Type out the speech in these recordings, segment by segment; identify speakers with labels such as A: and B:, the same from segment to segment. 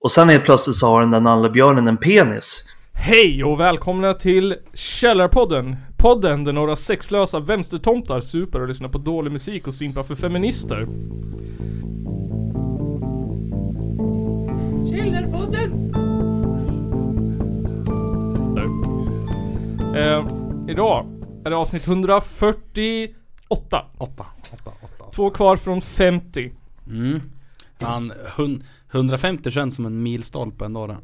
A: Och sen helt plötsligt så har den där nallebjörnen en penis.
B: Hej och välkomna till Källarpodden! Podden där några sexlösa vänstertomtar super och lyssnar på dålig musik och simpar för feminister.
C: Källarpodden!
B: Eh, idag är det avsnitt 148.
D: Åtta. åtta, åtta.
B: Två kvar från 50.
D: Mm. Han, hun, 150 känns som en milstolpe ändå det.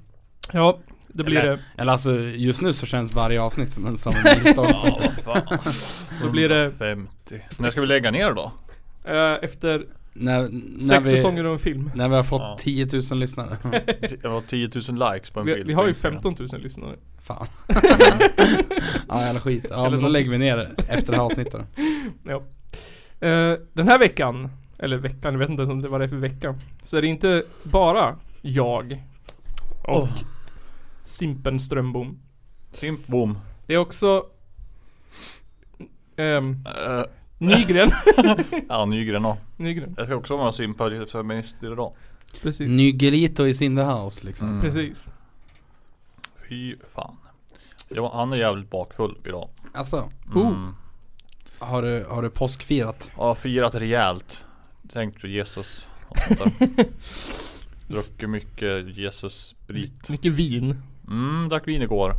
B: Ja, det blir
D: eller,
B: det.
D: eller alltså just nu så känns varje avsnitt som en, som en milstolpe.
B: Då blir det
E: 50. När ska vi lägga ner då?
B: eh, efter
D: när, när,
B: sex
D: vi,
B: säsonger och en film.
D: när vi har fått
E: Ja.
D: 10 000 lyssnare.
E: Jag har 10 000 likes på en
B: Vi,
E: bild.
B: vi har
E: på
B: ju
E: Instagram.
B: 15 000 lyssnare.
D: Fan. ja jävla skit. Ja men då
B: något.
D: lägger vi ner det efter det här avsnittet då.
B: Ja. Eh, den här veckan, eller veckan, jag vet inte ens om det var det för vecka. Så är det inte bara jag och Simpen Strömbom.
E: Simp, boom.
B: Det är också ehm,
E: Eh,
B: Nygren.
E: ja, Nygren då.
B: Nygren,
E: Jag ska också vara simpad feminist idag.
B: precis.
D: Nygelito is in the house liksom.
E: Mm.
B: Precis.
E: Fy fan. Ja, han är jävligt bakfull idag. Mm.
D: Alltså,
B: Oh.
D: har du, har du påskfirat?
E: Jag har firat rejält. Tänkt på Jesus och sånt där. Druckit mycket Jesus-sprit.
B: Mycket vin.
E: Mm, drack vin igår.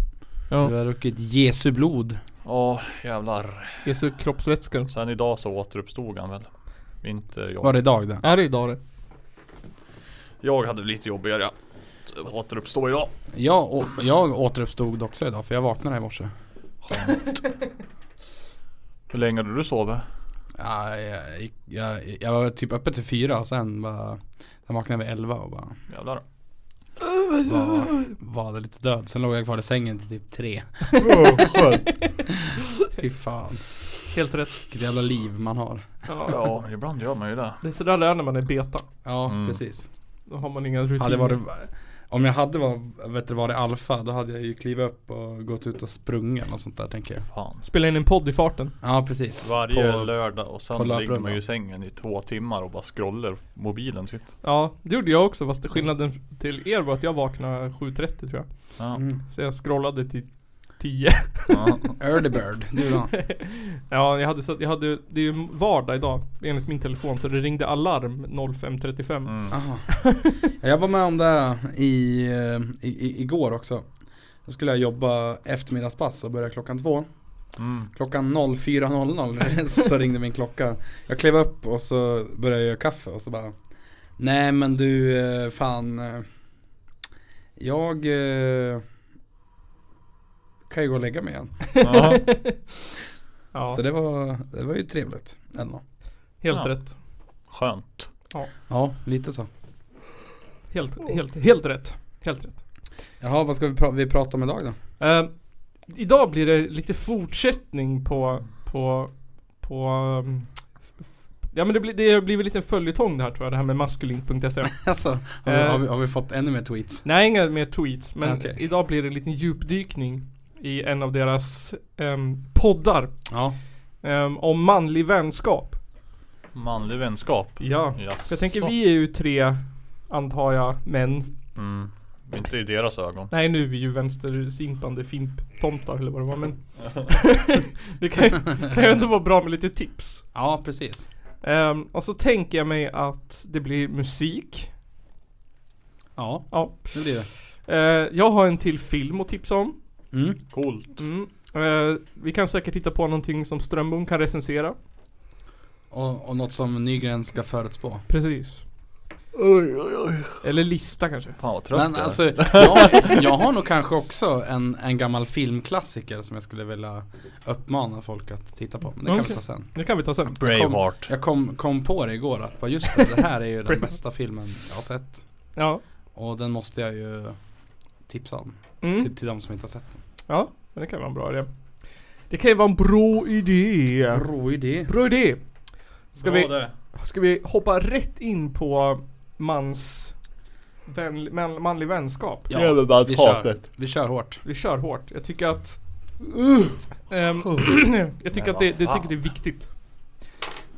D: Du
B: Ja,
D: har druckit Jesu blod.
E: Åh, jävlar.
B: Jesu kroppsvätskor.
E: Sen idag så återuppstod han väl. Inte jag.
D: Var det idag det?
B: Är det idag det?
E: Jag hade det lite jobbigare. Så jag Återuppstår idag.
D: Jag, å- jag återuppstod också idag för jag vaknade i morse.
E: Hur länge hade du sovit?
D: Ja, jag, gick- jag, jag var typ uppe till fyra och sen bara Sen vaknade jag vid elva och bara
E: Jävlar.
D: var, var det lite död. Sen låg jag kvar i sängen till typ tre. Fy fan.
B: Helt rätt.
D: Vilket jävla liv man har.
B: Ja.
E: Ja, men ibland gör man ju det.
B: Det är sådär det är när man är beta.
D: Ja
E: Mm.
D: precis.
B: Då har man inga rutiner.
D: Hade varit, om jag hade var, vet du, varit alfa då hade jag ju klivit upp och gått ut och sprungit eller något sånt där tänker jag.
E: Fan.
B: Spela in en podd i farten.
D: Ja precis.
E: Varje
D: På-
E: lördag och
D: på
E: söndag
D: labbrunnen.
E: ligger man ju i sängen i två timmar och bara scrollar mobilen typ.
B: Ja, det gjorde jag också fast skillnaden till er var att jag vaknade 7.30 tror jag.
E: Ja.
D: Mm.
B: Så jag scrollade till 10.
E: Ja.
D: Early bird, du då?
B: ja, jag hade så att jag hade, det är ju vardag idag enligt min telefon så det ringde alarm 05.35.
E: Mm.
D: Aha. Jag var med om det här i, eh, i, i, igår också. Då skulle jag jobba eftermiddagspass och börja klockan två.
E: Mm.
D: Klockan 04.00 så ringde min klocka. Jag klev upp och så började jag göra kaffe och så bara Nej men du eh, fan eh, Jag eh, kan ju gå och lägga mig igen.
E: Ja.
B: Ja,
D: Så det var, det var ju trevligt. Ändå.
B: helt
E: Ja.
B: rätt.
E: Skönt.
D: Ja, lite så.
B: Helt, helt, helt rätt. Helt rätt.
D: Jaha, vad ska vi, pra- vi prata om idag då?
B: Eh, idag blir det lite fortsättning på, på, på ehm, f- f- Ja men det, blir, det har blivit lite en följetong det här tror jag, det här med maskulin.se
D: Alltså, har vi,
B: Eh.
D: har, vi, har vi fått ännu mer tweets?
B: Nej, inga mer tweets. Men
D: Okej.
B: idag blir det en liten djupdykning i en av deras ehm, poddar
D: Ja.
B: ehm, om manlig vänskap.
E: Manlig vänskap.
B: Ja.
E: Jaså.
B: Jag tänker vi är ju tre, antar jag, män.
E: Mm. Inte i deras ögon.
B: Nej, nu är vi ju vänstersimpande fimptomtar eller vad det var. Men det kan, ju- kan ju ändå vara bra med lite tips.
D: Ja, precis.
B: Ehm, och så tänker jag mig att det blir musik.
D: Ja,
B: Ja.
D: det blir det.
B: Eh, jag har en till film att tipsa om.
D: Mm.
E: Coolt.
B: Mm. Eh, vi kan säkert titta på någonting som Strömbom kan recensera.
D: Och, och något som Nygren ska förutspå.
B: Precis. Eller lista kanske.
E: Fan vad trött
D: Men
E: jag är.
D: alltså, jag, jag har nog kanske också en, en gammal filmklassiker som jag skulle vilja uppmana folk att titta på. Men det kan
B: Okej.
D: vi ta sen.
B: Det kan vi ta sen.
E: Braveheart.
D: Jag kom, kom på det igår att bara just det, det här är ju den bästa filmen jag har sett.
B: Ja.
D: Och den måste jag ju tipsa om
B: Mm.
D: till, till de som inte har sett den.
B: Ja, men det kan vara en bra idé. Det kan ju vara en bra idé.
D: Bra idé.
B: Bra idé. Ska
E: Bra
B: vi,
E: det.
B: ska vi hoppa rätt in på mans vän, man, manlig vänskap?
D: Ja, vi kör.
E: Jävelbandshatet.
D: Vi kör hårt.
B: Vi kör hårt. Jag tycker att... Ehm, jag tycker
E: Men
B: att det, det,
E: vad fan.
B: tycker det är viktigt.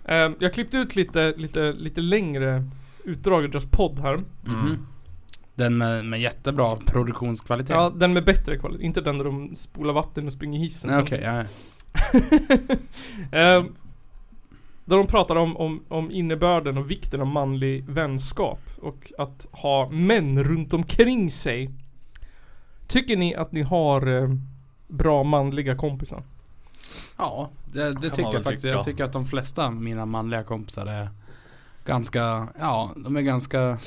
B: Ehm,
E: Mm.
B: jag klippte ut lite, lite, lite längre utdrag ur deras podd här.
D: Mhm. Den med, med jättebra produktionskvalitet.
B: Ja, den med bättre kvalitet. Inte den där de spolar vatten och springer hissen.
D: Nej,
B: sen.
D: Okej, ja.
B: Ehm, Där de pratar om, om, om innebörden och vikten av manlig vänskap och att ha män runt omkring sig. Tycker ni att ni har eh, bra manliga kompisar?
D: Ja, det, det
E: man
D: tycker
E: väl
D: jag faktiskt.
E: tycka.
D: Jag tycker att de flesta av mina manliga kompisar är ganska, ja, de är ganska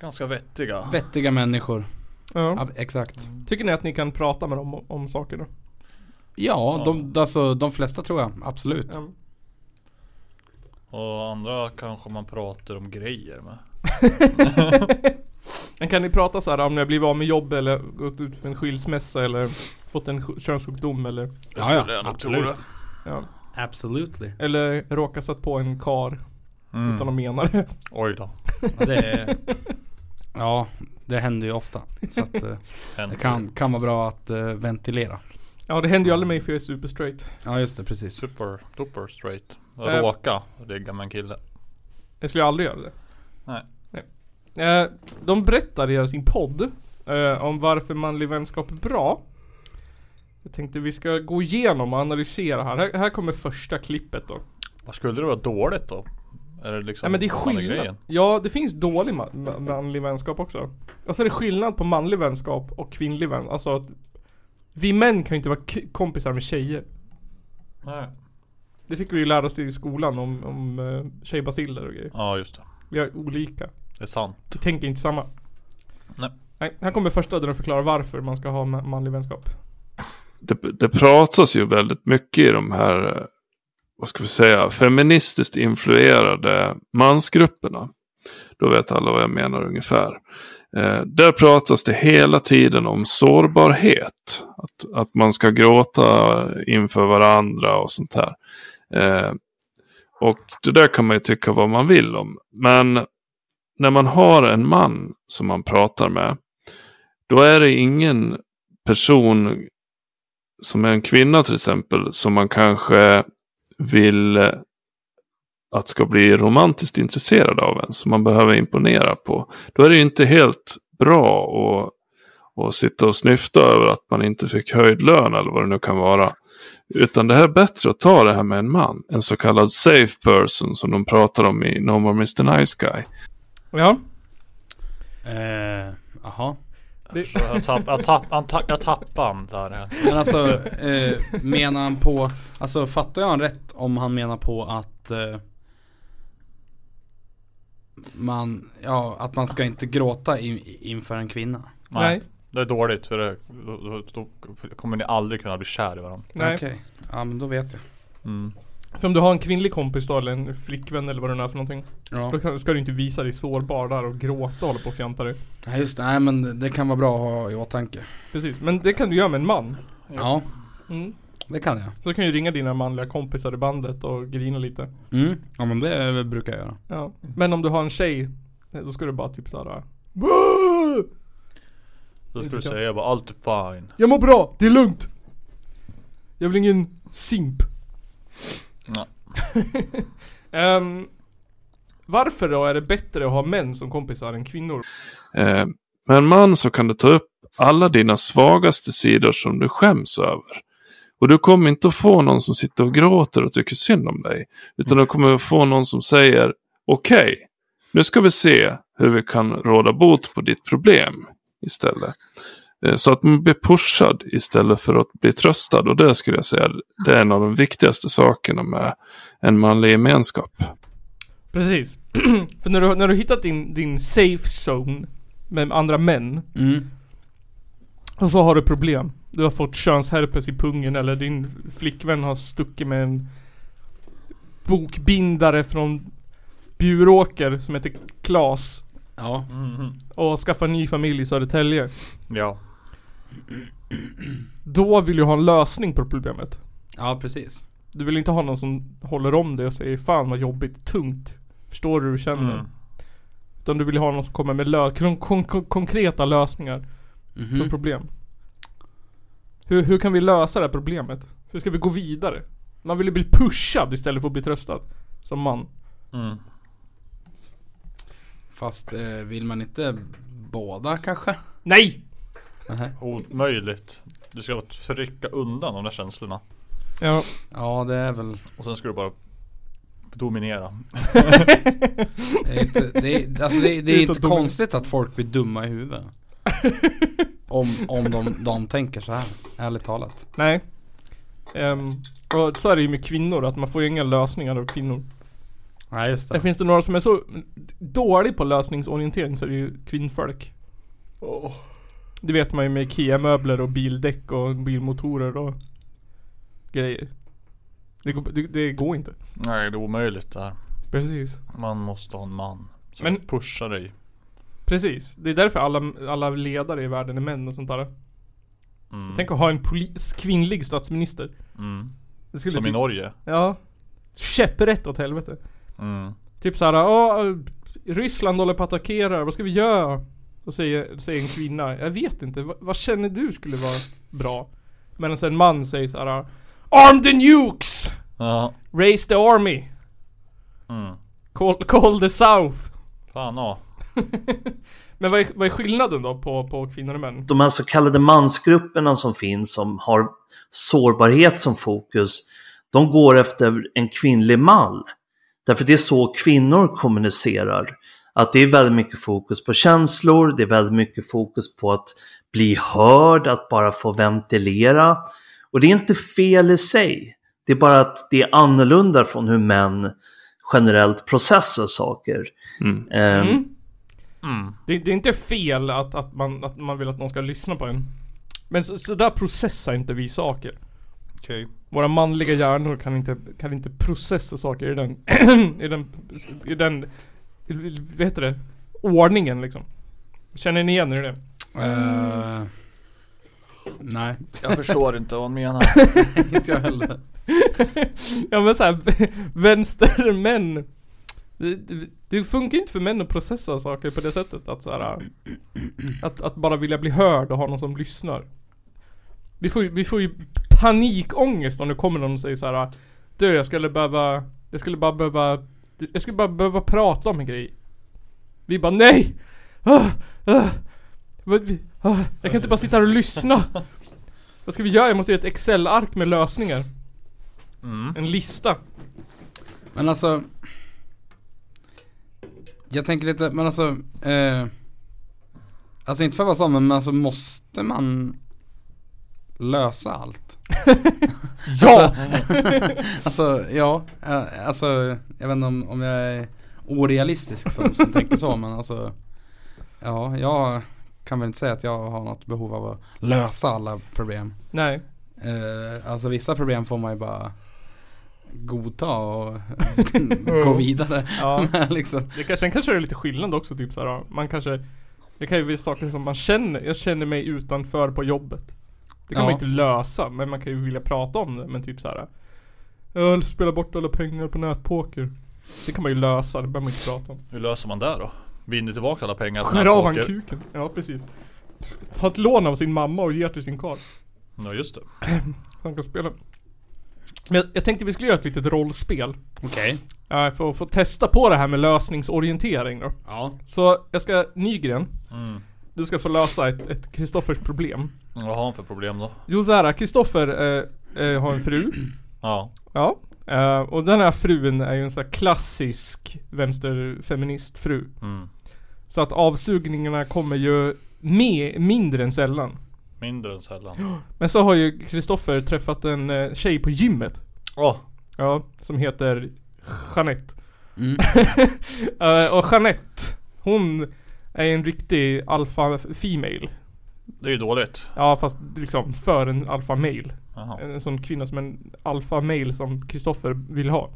E: Ganska vettiga.
D: vettiga människor.
B: Ja.
D: Ja, exakt.
B: Tycker ni att ni kan prata med dem om, om saker då?
D: Ja,
E: Ja.
D: de, alltså, de flesta tror jag, absolut.
B: Ehm,
E: Och andra kanske man pratar om grejer med.
B: Men kan ni prata så här om ni har blivit av med jobb eller gått ut för en skilsmässa eller fått en sj- könssjukdom eller,
D: Ja, ja,
E: Skulle jag nog tro
D: absolut.
E: det.
B: ja,
D: Absolutely.
B: eller råkat satt på en kar utan att
E: Mm.
B: mena det?
E: Oj då.
D: Det är, ja, det händer ju ofta. Så att, eh, det
E: Händer.
D: kan, kan vara bra att eh, ventilera.
B: Ja det händer ju aldrig mig för jag är super straight.
D: Ja, just det, precis.
E: Super, duper straight.
B: Eh.
E: Råka ligga med en kille.
B: Jag skulle aldrig göra det.
E: Nej.
B: Nej. Eh, de berättar i sin podd eh, om varför manlig vänskap är bra. Jag tänkte vi ska gå igenom och analysera här. Här, här kommer första klippet då.
E: Vad skulle det vara dåligt då? Är det liksom
B: Nej men det är
E: själva
B: skillnad.
E: grejen?
B: Ja det finns dålig ma- ma- manlig vänskap också. Och så är det skillnad på manlig vänskap och kvinnlig vänskap. Alltså att vi män kan ju inte vara k- kompisar med tjejer.
E: Nej.
B: Det fick vi ju lära oss i skolan om, om eh, tjejbaciller och grejer.
E: Ja just det.
B: Vi är olika.
E: Det är sant.
B: Vi tänker inte samma.
E: Nej.
B: Nej, här kommer första där de förklarar varför man ska ha ma- manlig vänskap.
C: det, det pratas ju väldigt mycket i de här, eh, vad ska vi säga, feministiskt influerade mansgrupperna. Då vet alla vad jag menar ungefär. Eh, där pratas det hela tiden om sårbarhet. Att, att man ska gråta inför varandra och sånt här. Eh, och det där kan man ju tycka vad man vill om. Men när man har en man som man pratar med, då är det ingen person som är en kvinna till exempel, som man kanske vill eh, att ska bli romantiskt intresserad av en, som man behöver imponera på. Då är det ju inte helt bra att och sitta och snyfta över att man inte fick höjd lön eller vad det nu kan vara. Utan det här är bättre att ta det här med en man. En så kallad safe person som de pratar om i No More Mr Nice Guy.
B: Ja,
D: Eh, Jaha.
B: Det-
E: Så Jag, tapp, jag, tapp, jag, tapp, jag tappade han där.
D: Men alltså, eh, menar han på, alltså fattar jag han rätt om han menar på att eh, man, ja, att man ska inte gråta in, inför en kvinna?
E: Nej.
B: Nej.
E: Det är dåligt för det, då, då, då kommer ni aldrig kunna bli kär i varandra.
B: nej.
D: Okej, ja men då vet jag.
E: Mm.
B: För om du har en kvinnlig kompis då, eller en flickvän eller vad det nu är för någonting.
D: Ja.
B: Då kan, ska du inte visa dig sårbar där och gråta och hålla på och fjanta dig.
D: Nej just det, nej men det- det kan vara bra att ha i åtanke.
B: Precis, men det kan du göra med en man.
D: Ja,
B: Mm.
D: det kan jag.
B: Så du kan ju ringa dina manliga kompisar i bandet och grina lite.
D: Mm. Ja men det brukar jag göra.
B: Ja. Men om du har en tjej, då ska du bara typ såhär
E: Då
B: Inte
E: skulle du
B: jag.
E: säga bara allt är fine.
B: Jag mår bra, det är lugnt! Jag vill ingen simp.
E: Nej.
B: Ehm, varför då är det bättre att ha män som kompisar än kvinnor?
C: Eh, Med en man så kan du ta upp alla dina svagaste sidor som du skäms över. Och du kommer inte att få någon som sitter och gråter och tycker synd om dig. Utan du kommer att få någon som säger okej, nu ska vi se hur vi kan råda bot på ditt problem istället. Eh, Så att man blir pushad istället för att bli tröstad. Och det skulle jag säga, det är en av de viktigaste sakerna med en manlig gemenskap.
B: Precis. För när du, när du hittat din, din safe zone med andra män,
D: Mm.
B: och så har du problem. Du har fått könsherpes i pungen eller din flickvän har stuckit med en bokbindare från Bjuråker som heter Klas
D: Ja.
E: Mhm.
B: och skaffat en ny familj i Södertälje.
E: Ja.
B: Då vill du ha en lösning på problemet.
D: Ja precis.
B: Du vill inte ha någon som håller om dig och säger fan vad jobbigt, tungt. Förstår du hur du känner?
E: Mm.
B: Utan du vill ha någon som kommer med lö- kon- kon- kon- konkreta lösningar på
D: Mhm.
B: problem. Hur, hur kan vi lösa det här problemet? Hur ska vi gå vidare? Man vill ju bli pushad istället för att bli tröstad. Som man.
E: Mm.
D: Fast eh, vill man inte Båda kanske?
B: Nej!
E: Omöjligt. Du ska trycka undan de där känslorna.
B: Ja.
D: Ja det är väl
E: Och sen ska du bara dominera.
D: Det är inte, det är, alltså det, det
B: Utan
D: är inte
B: dominans.
D: konstigt att folk blir dumma i huvudet. Om, om de, de tänker så här, ärligt talat.
B: Nej. Ehm, och så är det ju med kvinnor, att man får ju inga lösningar av kvinnor.
D: Nej just
B: Där finns det några som är så dålig på lösningsorientering så är det ju kvinnfolk. Det vet man ju med IKEA-möbler och bildäck och bilmotorer och grejer. Det, går- det, det går inte.
E: Nej, det är omöjligt det här.
B: Precis.
E: Man måste ha en man. Som
B: Men-
E: pushar dig.
B: Precis. Det är därför alla, alla ledare i världen är män och sånt där.
E: Mm.
B: Tänk att ha en polis, kvinnlig statsminister.
E: mm.
B: Det skulle
E: Som i
B: typ,
E: Norge.
B: Ja. Käpprätt åt helvete.
E: Mm.
B: Typ såhär, ja Ryssland håller på att attackera, vad ska vi göra? Och säger, säger en kvinna, jag vet inte, vad, vad känner du skulle vara bra? Medan en man säger såhär, Arm the nukes!
E: Ja.
B: Raise the army!
E: Mm.
B: Call, call the south!
E: Fan ja.
B: Men vad är, vad är skillnaden då på, på kvinnor och män?
A: de här så kallade mansgrupperna som finns, som har sårbarhet som fokus, de går efter en kvinnlig mall. Därför det är så kvinnor kommunicerar. Att det är väldigt mycket fokus på känslor, det är väldigt mycket fokus på att bli hörd, att bara få ventilera. Och det är inte fel i sig. Det är bara att det är annorlunda från hur män generellt processar saker.
C: Mm.
A: Ehm,
B: Mm.
E: Mm.
B: Det, det är inte fel att, att, man, att man vill att någon ska lyssna på en. Men så, så där processar inte vi saker.
E: Okej.
B: Våra manliga hjärnor kan inte, kan inte processa saker i den, i den, i den, vad heter det? Ordningen liksom. Känner ni igen er i det?
D: Eh, nej,
E: Jag förstår inte vad han menar.
D: inte jag heller.
B: ja men såhär, vänstermän. Det, det, det funkar inte för män att processa saker på det sättet att såhär, att, att bara vilja bli hörd och ha någon som lyssnar. Vi får, ju- vi får ju panikångest om det kommer någon och säger såhär, du jag skulle behöva, jag skulle bara behöva, jag skulle bara behöva prata om en grej. Vi bara nej! Ah, ah, Vad vi- ah, jag kan inte bara sitta här och lyssna. Vad ska vi göra? Jag måste göra ett Excel-ark med lösningar.
E: Mm.
B: En lista.
D: Men alltså Jag tänker lite, men alltså eh, Alltså inte för att vara sån, men alltså måste man lösa allt?
B: Ja!
D: Alltså ja, eh, alltså jag vet inte om, om jag är orealistisk som, som tänker så men alltså Ja, jag kan väl inte säga att jag har något behov av att lösa alla problem
B: Nej.
D: eh, Alltså vissa problem får man ju bara godta och gå vidare
B: Ja.
D: med liksom
B: Det kan, sen kanske det är lite skillnad också typ såhär, ja, man kanske Det kan ju vara saker som man känner, jag känner mig utanför på jobbet Det kan
D: Ja.
B: man inte lösa, men man kan ju vilja prata om det, men typ såhär Jag spelar bort alla pengar på nätpoker Det kan man ju lösa, det behöver man inte prata om
E: Hur löser man det då? Vinner tillbaka alla pengar?
B: Skär av han
E: Åker-
B: kuken, ja precis Ta ett lån av sin mamma och ger till sin karl
E: Ja just det.
B: så han kan spela Men jag, jag tänkte vi skulle göra ett litet rollspel
D: Okej
B: äh, För att få testa på det här med lösningsorientering då
D: Ja
B: Så jag ska, Nygren
E: Mm.
B: Du ska få lösa ett- ett Kristoffers problem.
E: Vad har han för problem då?
B: Jo så här, Kristoffer eh, eh, har en fru.
E: Ja.
B: Ja. Eh, och den här frun är ju en sån här klassisk vänsterfeministfru.
E: Mm.
B: Så att avsugningarna kommer ju med mindre än sällan.
E: Mindre än sällan.
B: Men så har ju Kristoffer träffat en eh, tjej på gymmet.
E: Åh!
B: Ja, som heter Jeanette.
D: Mm.
B: Eh, och Jeanette, hon är en riktig alfa female.
E: det är ju dåligt.
B: Ja fast liksom för en alfa male.
E: Jaha.
B: En, en sån kvinna som en alfa male som Kristoffer vill ha.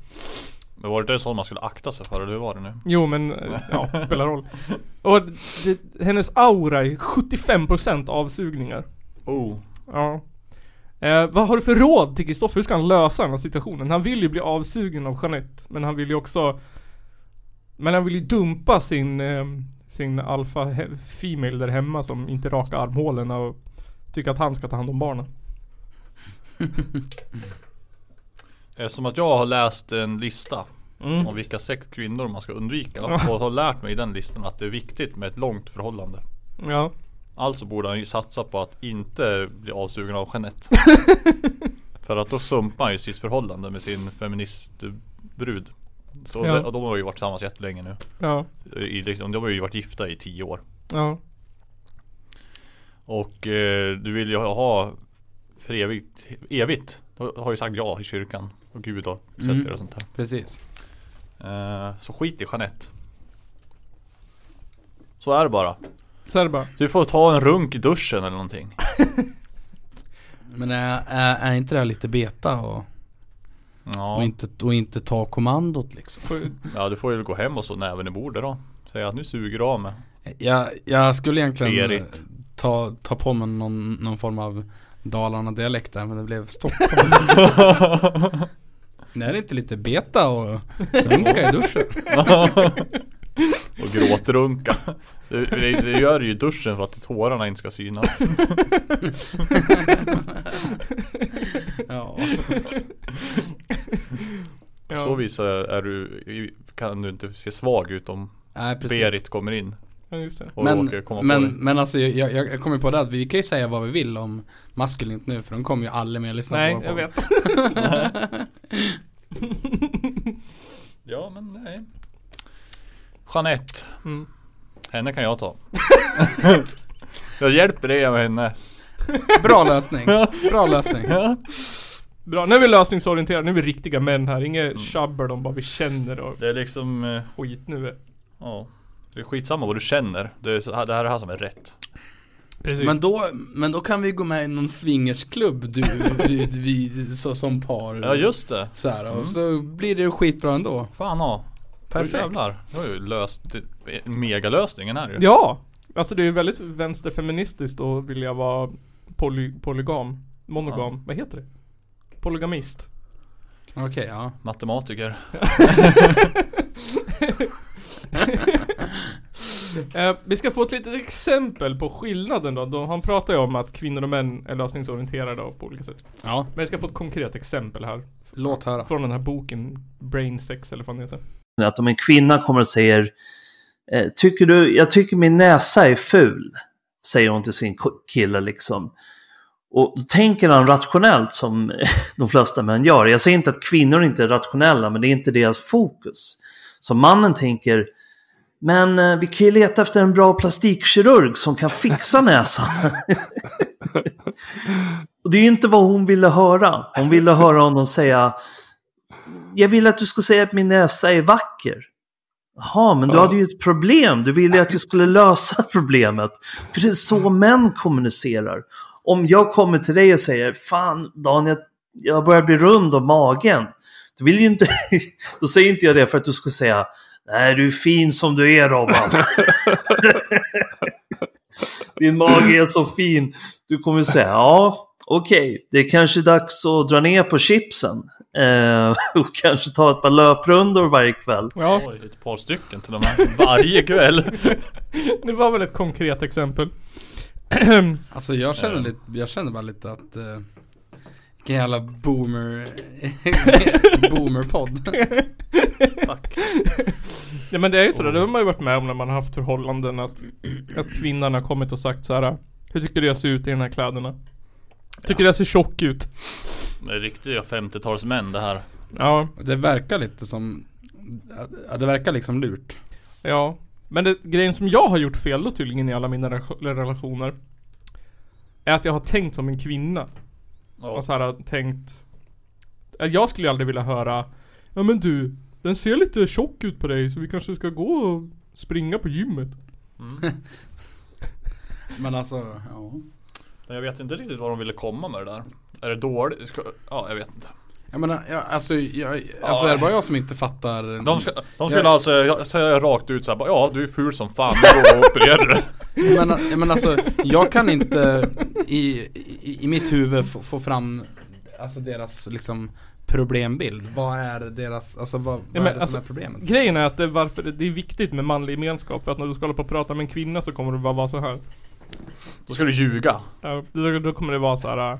E: Men var det det sånt man skulle akta sig för eller hur var det nu?
B: Jo men, eh, ja, det spelar roll. Och det, hennes aura är 75% avsugningar.
E: Oh.
B: Ja. Eh, vad har du för råd till Kristoffer? Hur ska han lösa den här situationen? Han vill ju bli avsugen av Jeanette, men han vill ju också Men han vill ju dumpa sin, eh, sin alfa he- female där hemma som inte rakar armhålorna och tycker att han ska ta hand om barnen.
E: Eftersom att jag har läst en lista
B: Mm.
E: om vilka sex kvinnor man ska undvika och har lärt mig i den listan att det är viktigt med ett långt förhållande.
B: Ja.
E: Alltså borde han ju satsa på att inte bli avsugen av Jeanette. För att då sumpar han ju sitt förhållande med sin feministbrud. Så
B: Ja.
E: det, och de har ju varit tillsammans jättelänge nu.
B: Ja.
E: I, liksom, de har ju varit gifta i tio år.
B: Ja.
E: Och eh, du vill ju ha- ha för evigt, evigt. Du har ju sagt ja i kyrkan. Och Gud har sett
D: Mm.
E: er och sånt där.
D: Precis.
E: Eh, så skit i Jeanette. Så är det bara.
B: Så är det bara.
E: Du får ta en runk i duschen eller någonting.
D: Men är, är, är inte det här lite beta och, och,
E: Ja,
D: inte, och inte ta kommandot liksom?
B: Får-
E: ja du får ju gå hem och så näven i bordet då. Säga att nu suger du av mig.
D: Jag, jag skulle egentligen
E: Berit.
D: ta, ta på mig någon, någon form av Dalarna-dialekt där men det blev stopp. Nej, det är inte lite beta och runka i duschen.
E: och gråtrunka. Det, det, det gör du ju i duschen för att tårarna inte ska synas.
D: Ja.
E: På så vis är, är du, kan du inte se svag ut om
D: Nej, precis.
E: Berit kommer in
B: Ja, just det.
E: och
D: Men,
E: råkar komma
D: men,
E: på dig.
D: men alltså jag, jag jag kommer på det att vi kan ju säga vad vi vill om maskulint nu för de kommer ju aldrig mer lyssna
B: Nej,
D: på vår
B: jag
D: podd.
B: vet.
E: Ja men nej. Jeanette,
B: Mm.
E: henne kan jag ta. jag hjälper dig med henne.
D: Bra lösning, bra lösning.
B: Bra, nu är vi lösningsorienterade, nu är vi riktiga män här. Inget tjabbel om vad vi känner och
E: Det är liksom, eh,
B: skit nu. är-
E: ja. Det är skitsamma vad du känner. Det, är, så här- det här är det här som är rätt.
B: Precis.
D: Men då, men då kan vi gå med i någon swingersklubb du, vi, vi, så, som par.
E: Ja just det.
D: Så här, och så blir det skitbra ändå.
E: Fan ja. Då
D: Perfekt.
E: jävlar. Det var ju löst, det- megalösningen här ju.
B: Ja! Alltså det är ju väldigt vänsterfeministiskt att vilja vara poly, polygam. Monogam. Vad heter det? Polygamist.
D: Okej, ja.
E: Matematiker.
B: Eh, vi ska få ett litet exempel på skillnaden då. då. Han pratar ju om att kvinnor och män är lösningsorienterade och på olika sätt.
D: Ja,
B: Men jag ska få ett konkret exempel här.
D: låt höra.
B: Från den här boken Brain Sex eller vad den heter.
A: Att om en kvinna kommer och säger eh, tycker du, jag tycker min näsa är ful, säger hon till sin ko- kille liksom. Och då tänker han rationellt som de flesta män gör. Jag säger inte att kvinnor inte är rationella, men det är inte deras fokus. Så mannen tänker, men eh, vi kan ju leta efter en bra plastikkirurg som kan fixa näsan. Och det är ju inte vad hon ville höra. Hon ville höra honom säga, jag vill att du ska säga att min näsa är vacker. Jaha, men du
C: Ja.
A: hade ju ett problem. Du ville ju att jag skulle lösa problemet. För det är så män kommunicerar. Om jag kommer till dig och säger, fan Daniel, jag börjar bli rund om magen. Du vill ju inte, då säger inte jag det för att du ska säga, nej du är fin som du är Robban. Din mage är så fin. Du kommer säga, ja, okej, det är kanske dags att dra ner på chipsen. Eh, och kanske ta ett par löprundor varje kväll.
B: Ja,
E: Oj, ett par stycken till och med. Varje kväll.
B: det var väl ett konkret exempel.
D: Alltså jag känner, lite, jag känner bara lite att eh, vilken jävla boomer boomerpodd.
E: Fuck.
B: Ja men det är ju sådär, det har man ju varit med om när man har haft förhållanden att, att kvinnan har kommit och sagt så här. Hur tycker du jag ser ut i de här kläderna? Tycker jag ser tjock ut?
E: Det är riktiga 50-talsmän det här.
B: Ja,
D: Det verkar lite som, ja, det verkar liksom lurt.
B: ja. Men det, grejen som jag har gjort fel då tydligen i alla mina re- relationer Är att jag har tänkt som en kvinna
E: Ja.
B: Och så här har tänkt att Jag skulle ju aldrig vilja höra Ja men du, den ser lite tjock ut på dig så vi kanske ska gå och springa på gymmet
D: Men alltså, ja.
E: Men jag vet inte riktigt vad de ville komma med det där. Är det dåligt? Ska, ja, jag vet inte.
D: Jag menar, jag, alltså, jag, alltså
E: Ja.
D: är det bara jag som inte fattar?
E: De, ska, de skulle
D: Jag-
E: alltså jag- säga rakt ut såhär, ja du är ful som fan, men då opererar du.
D: Men, jag menar, alltså, jag kan inte i, i, i mitt huvud få, få fram alltså deras liksom problembild. Vad är deras, alltså vad, vad
B: men
D: är det
B: alltså-
D: som är problemet?
B: Grejen är att det är varför det, det är viktigt med manlig gemenskap för att när du ska hålla på och prata med en kvinna så kommer du bara vara så här.
E: Då ska du ljuga.
B: Ja, Då, då kommer det vara så här. äh,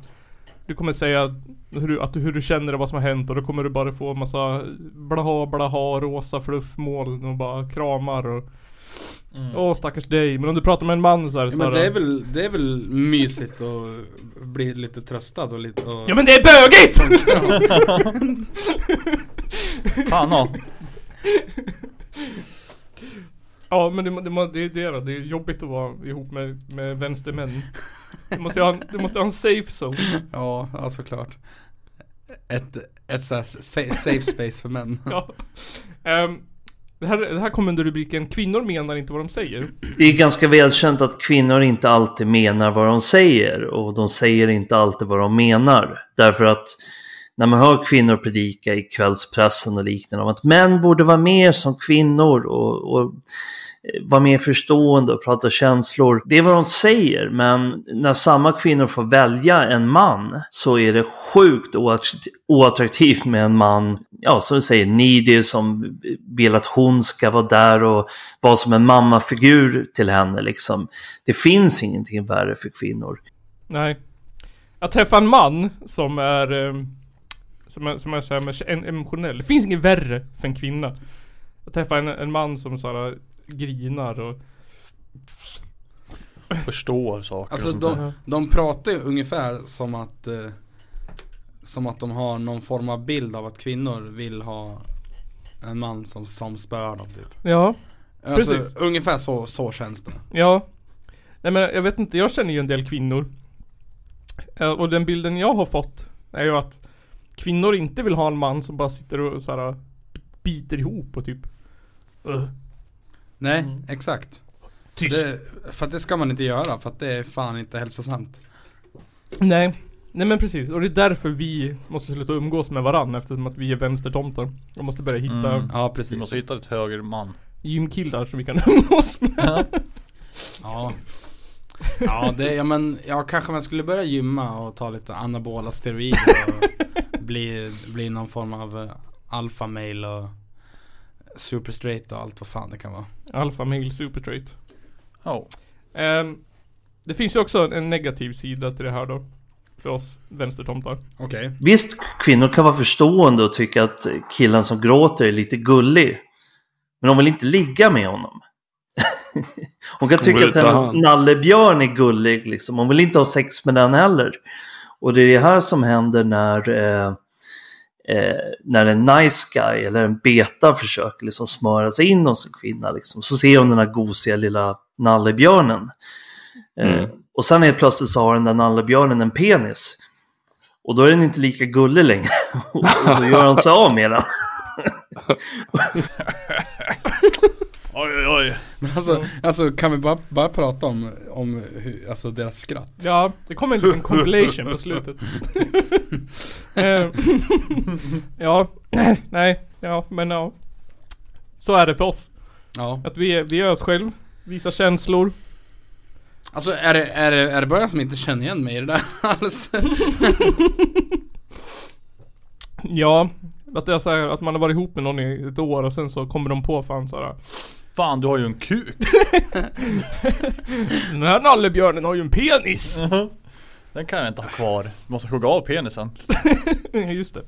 B: Du kommer säga hur du, att du, hur du känner och vad som har hänt och då kommer du bara få massa blaha blaha rosa fluffmoln och bara kramar och Åh stackars dig. Men om du pratar med en man så äh, är det
D: Mm. Ja, men
B: snarare-
D: det är, väl, det är väl mysigt att bli lite tröstad och lite och...
B: Ja men det är bögigt!
E: Fan ja.
B: Ja men det, må- det, må- det är det då, det är jobbigt att vara ihop med, med vänstermän. Du måste, ju ha en, du måste ha en safe zone.
D: Ja, ja såklart. Ett, ett så här sa- safe space för män.
B: Ja. Ehm, det, här, det här kommer under rubriken 'Kvinnor menar inte vad de säger'
A: Det är ganska välkänt att kvinnor inte alltid menar vad de säger och de säger inte alltid vad de menar. Därför att när man hör kvinnor predika i kvällspressen och liknande om att män borde vara mer som kvinnor och, och eh, vara mer förstående och prata känslor. Det är vad de säger, men när samma kvinnor får välja en man så är det sjukt oatt- oattraktivt med en man, ja som du säger, needy som vill att hon ska vara där och vara som en mammafigur till henne liksom. Det finns ingenting värre för kvinnor.
B: Nej. Att träffa en man som är ehm, som är, som är så här med- en- emotionell. Det finns inget värre för en kvinna. Att träffa en, en man som såhär grinar och...
E: Förstår saker
D: Alltså
E: och sånt där.
D: de, de pratar ju ungefär som att eh, Som att de har någon form av bild av att kvinnor vill ha En man som, som spöar dem typ
B: Ja.
D: alltså,
B: Precis.
D: Ungefär så, så känns det
B: Ja. Nej men jag vet inte, jag känner ju en del kvinnor. Eh, Och den bilden jag har fått är ju att kvinnor inte vill ha en man som bara sitter och så här biter ihop och typ... Uh,
D: Nej, exakt
B: tyst.
D: det, För att det ska man inte göra för att det är fan inte hälsosamt
B: Nej. Nej men precis, och det är därför vi måste sluta umgås med varandra eftersom att vi är vänstertomtar. Och måste börja hitta
E: Mm.
D: Ja
E: Vi
D: precis
E: måste hitta ett högre man.
B: gymkillar som vi kan umgås med.
D: Ja Ja, det, ja men ja, kanske man skulle börja gymma och ta lite anabola steroider och bli, bli någon form av eh, alpha male och super straight och allt vad fan det kan vara
B: Alpha male super trait.
E: Ja.
B: Ehm, det finns ju också en negativ sida till det här då. För oss vänstertomtar.
D: Okej
A: Visst, kvinnor kan vara förstående och tycka att killen som gråter är lite gullig. Men de vill inte ligga med honom. Hon kan tycka
C: vill
A: att
C: ta
A: en
C: hand.
A: nallebjörn är gullig, liksom. Hon vill inte ha sex med den heller. Och det är det här som händer när, eh, eh, när en nice guy eller en beta försöker liksom smöra sig in hos en kvinna. Liksom. Så ser hon den här gosiga lilla nallebjörnen. Eh, och sen helt plötsligt så har den där nallebjörnen en penis. Och då är den inte lika gullig längre. Och då gör han sig av med den.
E: Oj oj oj.
D: Men alltså, alltså kan vi bara, bara prata om, om hur, alltså deras skratt?
B: Ja, det kom en liten compilation på slutet. Ehm, ja, nej, ja, men ja. Så är det för oss.
D: Ja
B: Att vi är, vi är oss själv, visar känslor.
D: Alltså är det, är det, är det bara jag som inte känner igen mig i det där alls?
B: Ja, att det är så här, att man har varit ihop med någon i ett år och sen så kommer de på fan såhär.
E: Fan du har ju en kuk.
B: Den här nallebjörnen har ju en penis!
E: Mhm. Den kan jag inte ha kvar. Du måste hugga av penisen.
B: Just det.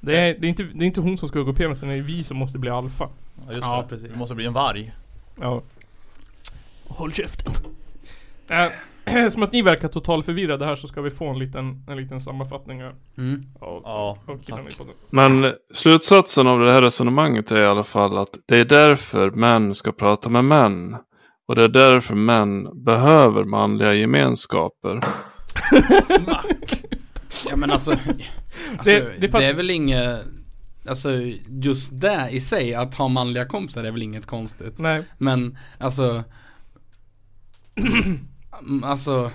B: Det är, det, är inte, det är inte hon som ska gå upp penisen, det är vi som måste bli alfa.
E: Ja, just
D: Ja,
E: det.
D: precis.
E: Du måste bli en varg.
B: Ja. Håll käften. Eh, som att ni verkar totalt förvirrade här så ska vi få en liten, en liten sammanfattning här.
D: Mm.
B: av-
E: Ja,
B: av killarna i
E: tack.
B: podden.
C: Men slutsatsen av det här resonemanget är i alla fall att det är därför män ska prata med män. Och det är därför män behöver manliga gemenskaper.
D: Ja men alltså, alltså
B: Det-
D: det,
B: det är för att-
D: är väl inget Alltså just det i sig, att ha manliga kompisar är väl inget konstigt
B: Nej.
D: Men alltså mm, Alltså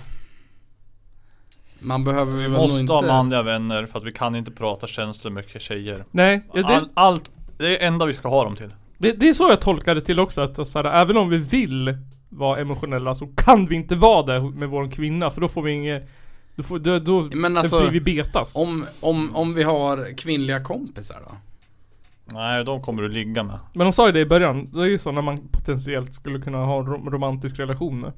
D: Man behöver väl
E: Vi
D: nog
E: måste
D: inte
E: ha manliga vänner för att vi kan inte prata känslor med tjejer.
B: Nej, ja, det,
E: All, allt, det är det enda vi ska ha dem till.
B: det, det är så jag tolkar det till också att så här, även om vi vill vara emotionella så kan vi inte vara det med vår kvinna för då får vi inget... Då, får, då, då,
D: Men
B: då
D: alltså-
B: blir vi betas.
D: om, om, om vi har kvinnliga kompisar då?
E: Nej, de kommer du ligga med.
B: Men de sa ju det i början, det är ju så när man potentiellt skulle kunna ha en rom- romantisk relation med.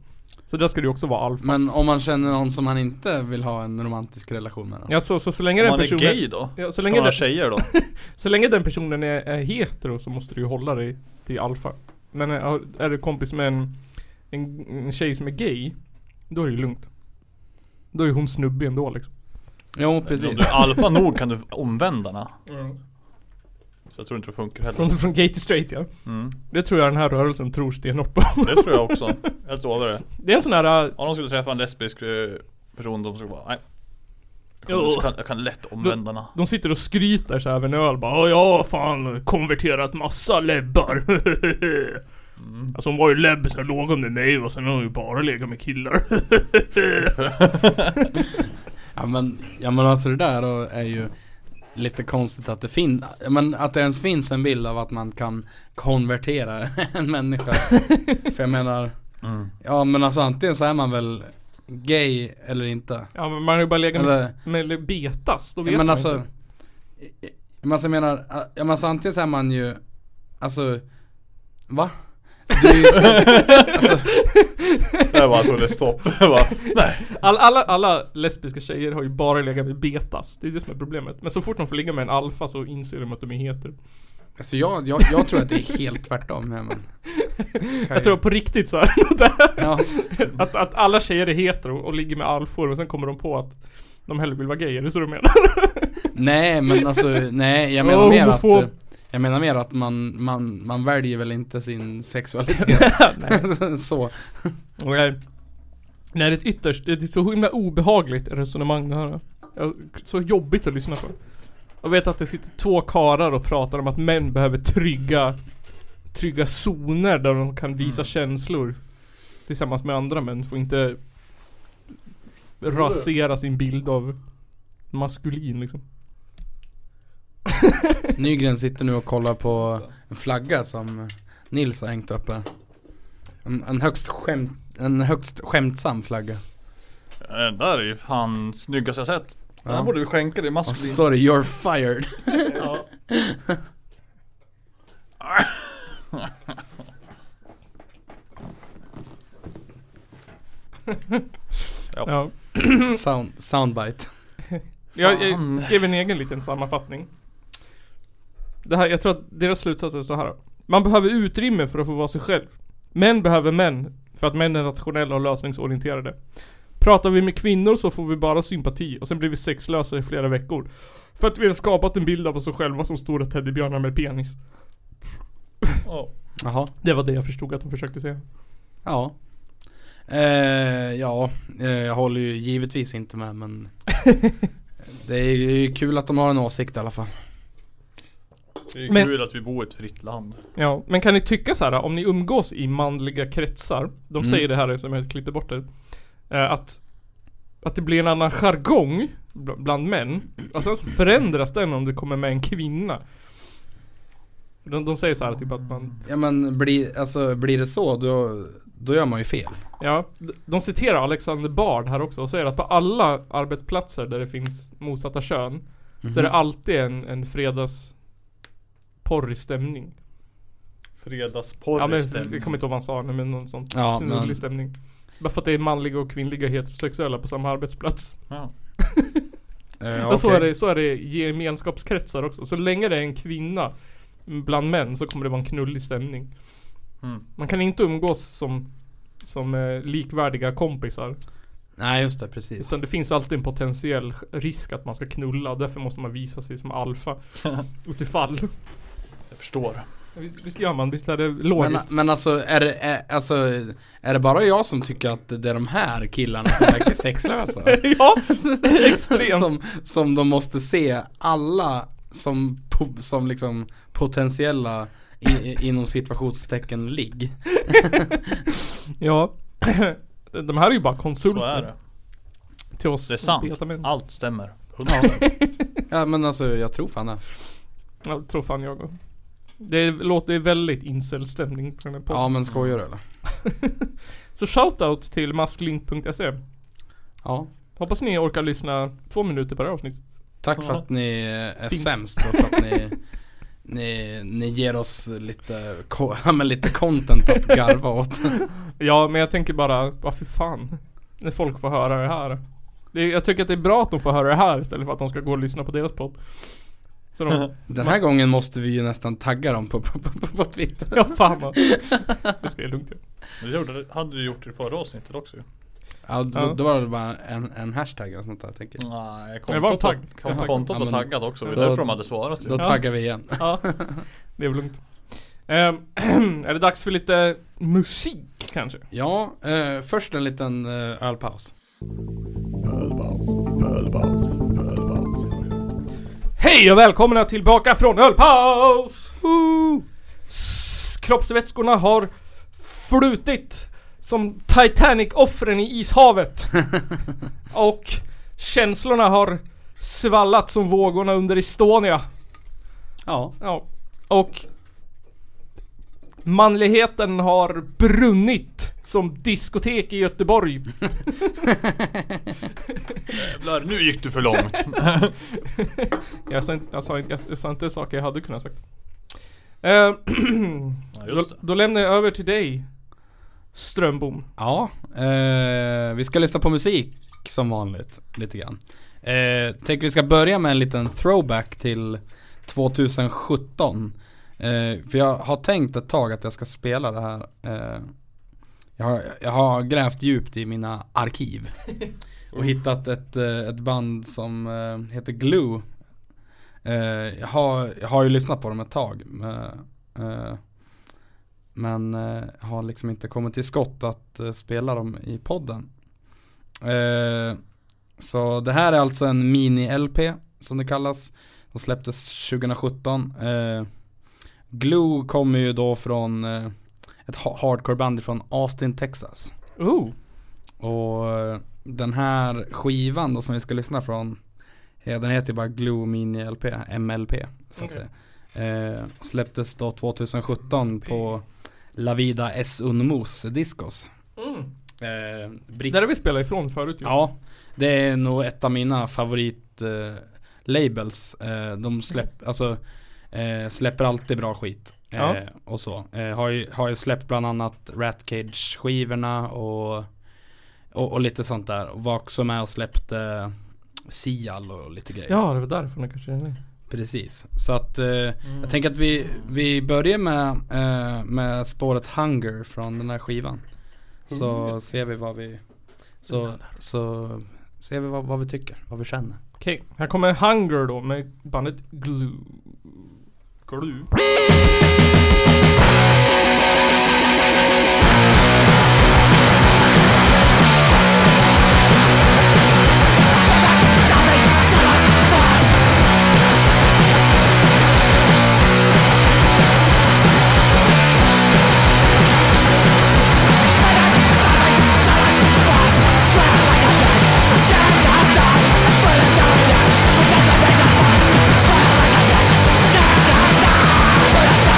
B: Så där ska det ju också vara alfa.
D: Men om man känner någon som man inte vill ha en romantisk relation med då?
B: Ja, så, så, så länge
E: Om
B: den
E: man är
B: personen...
E: gay då?
B: Ja, så,
E: Länge
B: länge
E: man ha
B: den,
E: tjejer då?
B: så länge den personen är, är hetero så måste du ju hålla dig till alfa. Men är, är du kompis med en, en, en tjej som är gay, då är det ju lugnt. Då är hon snubbig ändå liksom.
D: Jo
E: Men Om
D: precis.
E: du är alfa nog kan du omvända henne.
B: Mm.
E: Så jag tror inte det funkar heller.
B: Från, från gay till straight ja.
E: Mm.
B: Det tror jag den här rörelsen tror stenhårt på.
E: Det tror jag också. Jag lovar det.
B: Det är en sån här, äh,
E: Om de skulle träffa en lesbisk eh, person, de skulle bara nej. Jag kan,
B: Jo.
E: jag kan, jag kan lätt omvända henne.
B: de sitter och skryter så här över en öl bara "Ja, jag har fan konverterat massa lebbar.
E: Mm.
B: Alltså hon var ju lebb sen låg hon med mig och sen har hon ju bara legat med killar.
D: Ja men, ja men alltså det där då är ju lite konstigt att det finns, men att det ens finns en bild av att man kan konvertera en människa. För jag menar,
E: Mm.
D: ja men alltså antingen så är man väl gay eller inte.
B: Ja men man har ju bara legat med,
D: Eller-
B: med betas, då vet
D: Ja, men
B: man
D: alltså,
B: inte.
D: ja, men alltså jag menar, ja, men alltså antingen så är man ju, alltså, va? Du är ju, alltså,
E: Det var tog det stopp. Jag bara, nej.
B: All, alla, alla lesbiska tjejer har ju bara legat med betas, det är det som är problemet. Men så fort de får ligga med en alfa så inser de att de är heter.
D: alltså jag, jag, jag tror att det är helt tvärtom. Ja, men, Kan
B: Jag tror
D: ju-
B: på riktigt så här, något där.
D: Ja,
B: att, att alla tjejer är hetero och ligger med alfor och sen kommer de på att de hellre vill vara gay, är det så du menar?
D: Nej men alltså, nej jag
B: Ja,
D: menar mer att
B: homofob.
D: eh, Jag menar mer att man, man, man väljer väl inte sin sexualitet Så,
B: Nej. Nej det är ett ytterst, det är så himla obehagligt resonemang det här. Ja, Så jobbigt att lyssna på. Jag vet att det sitter två karar och pratar om att män behöver trygga Trygga zoner där de kan visa känslor Tillsammans med andra män, får inte Rasera sin bild av Maskulin liksom
D: Nygren sitter nu och kollar på en flagga som Nils har hängt upp här En, en högst skämt, en högst skämtsam flagga
E: Den där är ju fan snyggast jag sett. Den här
D: Ja.
E: borde vi skänka dig
D: Och så
E: maskulin.
D: står det 'You're fired'
B: Ja.
E: Ja.
B: ja.
D: Sound, Soundbite
B: Jag,
E: Fan.
B: jag skrev en egen liten sammanfattning. Det här, jag tror att deras slutsats är så här. Man behöver utrymme för att få vara sig själv. Män behöver män, för att män är rationella och lösningsorienterade. Pratar vi med kvinnor så får vi bara sympati och sen blir vi sexlösa i flera veckor. För att vi har skapat en bild av oss själva som stora teddybjörnar med penis.
E: Ja.
D: Jaha
B: Det var det jag förstod att de försökte säga.
D: Ja eh, Ja, eh, jag håller ju givetvis inte med men Det är ju kul att de har en åsikt i alla fall
E: Det är
B: Men-
E: kul att vi bor i ett fritt land.
B: Ja, men kan ni tycka så här om ni umgås i manliga kretsar, de
D: Mm.
B: säger det här som jag klippte bort det, eh, att, att det blir en annan jargong bl- bland män, och sen så förändras den om det kommer med en kvinna. De, de säger så här typ att man,
D: Ja men blir, alltså, blir det så då, då gör man ju fel.
B: ja, d- de citerar Alexander Bard här också och säger att på alla arbetsplatser där det finns motsatta kön, så är det alltid en, en fredags porrig stämning.
E: Fredagsporr
B: Ja men jag kommer inte ihåg vad han sa, nej, men någon sån
D: Mhm. Ja,
B: Snurrig
D: men, eh,
B: stämning. Bara för att det är manliga och kvinnliga heterosexuella på samma arbetsplats.
E: Ja.
D: eh,
B: Och så
D: okej.
B: är, det, så är det i gemenskapskretsar också. Så länge det är en kvinna bland män så kommer det vara en knullig stämning.
E: Mm.
B: Man kan inte umgås som, som eh, likvärdiga kompisar.
D: Nej just det, precis.
B: Utan det finns alltid en potentiell risk att man ska knulla och därför måste man visa sig som alfa. Utifall.
E: Jag förstår.
B: Visst, visst gör man? Visst är det
D: Men,
B: logiskt?
D: men alltså, är det, är, alltså, är det bara jag som tycker att det är de här killarna som verkar sexlösa?
B: ja! Extremt!
D: som, som de måste se alla som, po- som liksom potentiella i, i, inom situationstecken ligg.
B: Ja. De här är ju bara
E: Så är
B: konsulter
E: det.
B: till oss
E: Det är sant.
B: betamän.
E: Allt stämmer.
D: Ja. ja men alltså jag tror fan det.
B: Jag tror fan jag går. Det låter väldigt incel-stämning på den här podden.
D: Ja men skojar du eller?
B: Så shoutout till maskulint.se.
D: Ja.
B: Hoppas ni orkar lyssna två minuter per avsnitt.
D: Tack för att ni är
B: Finns.
D: sämst och för att ni, ni, ni ger oss lite, ko- ja, men lite content att garva åt.
B: Ja, men jag tänker bara, vad för fan? När folk får höra det här. Det, jag tycker att det är bra att de får höra det här istället för att de ska gå och lyssna på deras podd. Så de,
D: Den här gången måste vi ju nästan tagga dem på, på, på, på Twitter.
B: ja fan vad. Det ska jag lugnt göra.
E: Men Det gjorde, hade du gjort det i förra avsnittet också ju.
D: Ja, då,
B: Ja.
D: då var det bara en, en hashtag eller sånt där tänker jag.
E: Nej,
B: det var en tagg.
E: var, kontot
D: Ja,
E: var
D: men-
E: taggat också. Det är
D: Då-
E: därför de hade svarat ju.
D: Då taggar vi igen.
B: Ja, det är väl lugnt. Ehm, är det dags för lite musik kanske?
D: Ja, eh, först en liten eh, ölpaus.
B: Hej och välkomna tillbaka från ölpaus! Woo! S- Kroppsvätskorna har flutit som Titanic-offren i ishavet. och känslorna har svallat som vågorna under Estonia.
D: Ja,
B: Ja. Och manligheten har brunnit som diskotek i Göteborg.
E: Jävlar, nu gick du för långt.
B: Jag sa, inte- jag, sa, inte- jag, jag sa inte saker jag hade kunnat sagt. Eh,
E: Ja,
B: då,
E: just det.
B: då lämnar jag över till dig Strömbom.
D: ja eh, vi ska lyssna på musik som vanligt lite grann. Eh, tänk vi ska börja med en liten throwback till 2017. Eh, för jag har tänkt ett tag att jag ska spela det här. Eh, jag, har, jag har grävt djupt i mina arkiv. Och hittat ett, eh, ett band som eh, heter Glue. Eh, jag, har, jag har ju lyssnat på dem ett tag. men, eh, Men eh, har liksom inte kommit till skott att eh, spela dem i podden. Eh, Så det här är alltså en mini-LP som det kallas. Som släpptes 2017. Eh, Glue kommer ju då från eh, ett ha- hardcore-band från Austin, Texas.
B: Oh,
D: Och eh, den här skivan då som vi ska lyssna från eh, Den heter ju bara Glue Mini LP, MLP så att
B: Okej.
D: säga eh, och Släpptes då 2017 på La Vida S Unmos Discos eh, Britt-
B: där har vi spelat ifrån förut ju.
D: Ja, det är nog ett av mina favorit eh, labels eh, De släpp, alltså, eh, släpper alltid bra skit eh,
B: Ja.
D: och så eh, har, ju, har ju släppt bland annat Rat Cage skivorna och, och, och lite sånt där och var också med och släppte eh, Sial och lite grejer
B: Ja, det var därför den kanske är ny.
D: Precis, så att eh,
B: Mm.
D: jag tänker att vi, vi börjar med, eh, med spåret Hunger från den här skivan. Så ser vi vad vi, så, så ser vi vad, vad vi tycker, vad vi känner.
B: Okej, här kommer Hunger då med bandet Glue.
E: Glu.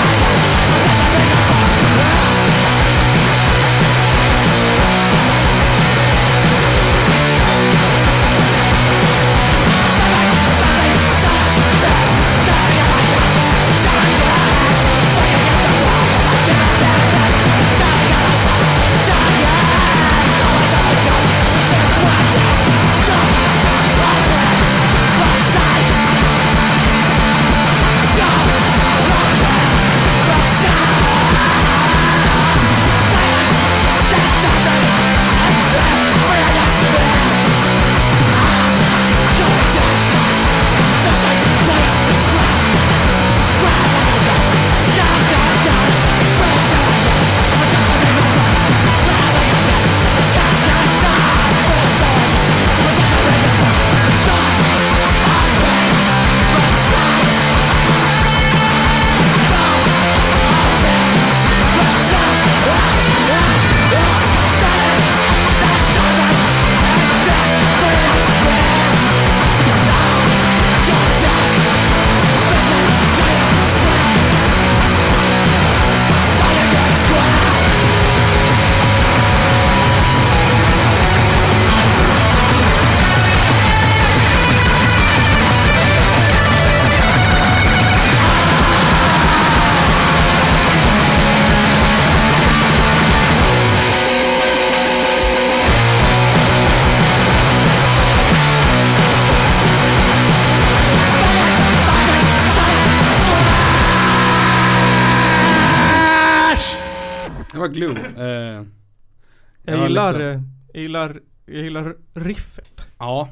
F: Yeah.
D: har glue. Eh,
B: Jag
D: har
B: gillar,
D: liksom-
B: eh, jag gillar, jag gillar riffet.
D: ja.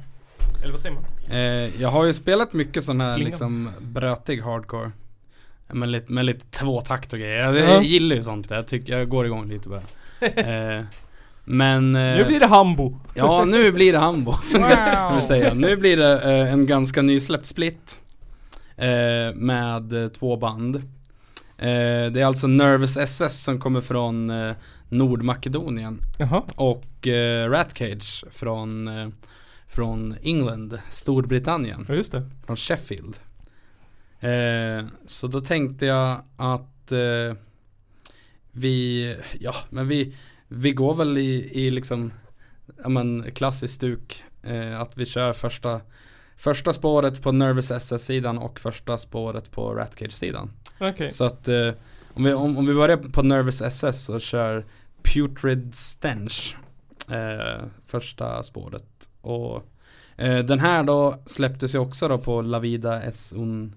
B: Eller vad säger man?
D: Eh, jag har ju spelat mycket sån här
B: Slingan.
D: liksom brötig hardcore. Med lite, med lite tvåtakt och grejer. Jag,
B: Ja.
D: jag gillar ju sånt. Jag, tycker, jag går igång lite bara. Eh, men... eh,
B: Nu blir det hambo.
D: Ja, nu blir det hambo. kan vi säga. Nu blir det eh, en ganska nysläppt split. Eh, med eh, två band. Eh, det är alltså Nervous SS som kommer från eh, Nordmakedonien.
B: Jaha.
D: Och eh, Ratcage från, eh, från England, Storbritannien,
B: Ja just det.
D: från Sheffield. Eh, så då tänkte jag att eh, vi, ja men vi, vi går väl i, i liksom, ja men klassiskt stuk. Eh, att vi kör första, första spåret på Nervous SS-sidan och första spåret på Ratcage-sidan.
B: Okej.
D: Så att eh, om, vi, om, om vi börjar på Nervous SS och kör Putrid Stench eh, Första spåret och eh, Den här då släpptes ju också då på Lavida S Un,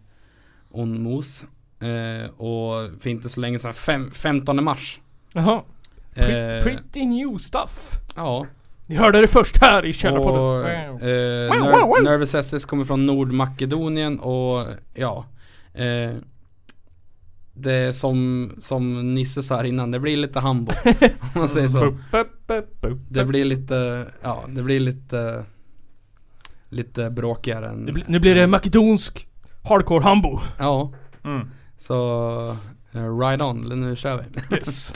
D: un Mos eh, Och för inte så länge sedan, fem, 15 mars
B: Jaha. Pre-
D: eh,
B: pretty new stuff.
D: Ja
B: Ni hörde det först här i
D: och,
B: Källarpodden.
D: eh, Ner-
B: wow, wow.
D: Nervous SS kommer från Nordmakedonien och ja eh, Det är som, som Nisse sa här innan, det blir lite hambo Om man säger så
B: Bup, bup, bup, bup.
D: Det blir lite, ja det blir lite Lite bråkigare än
B: Det blir- nu blir det makedonsk hardcore hambo.
D: Ja,
E: Mm.
D: så eh, ride on, nu kör vi
B: Yes.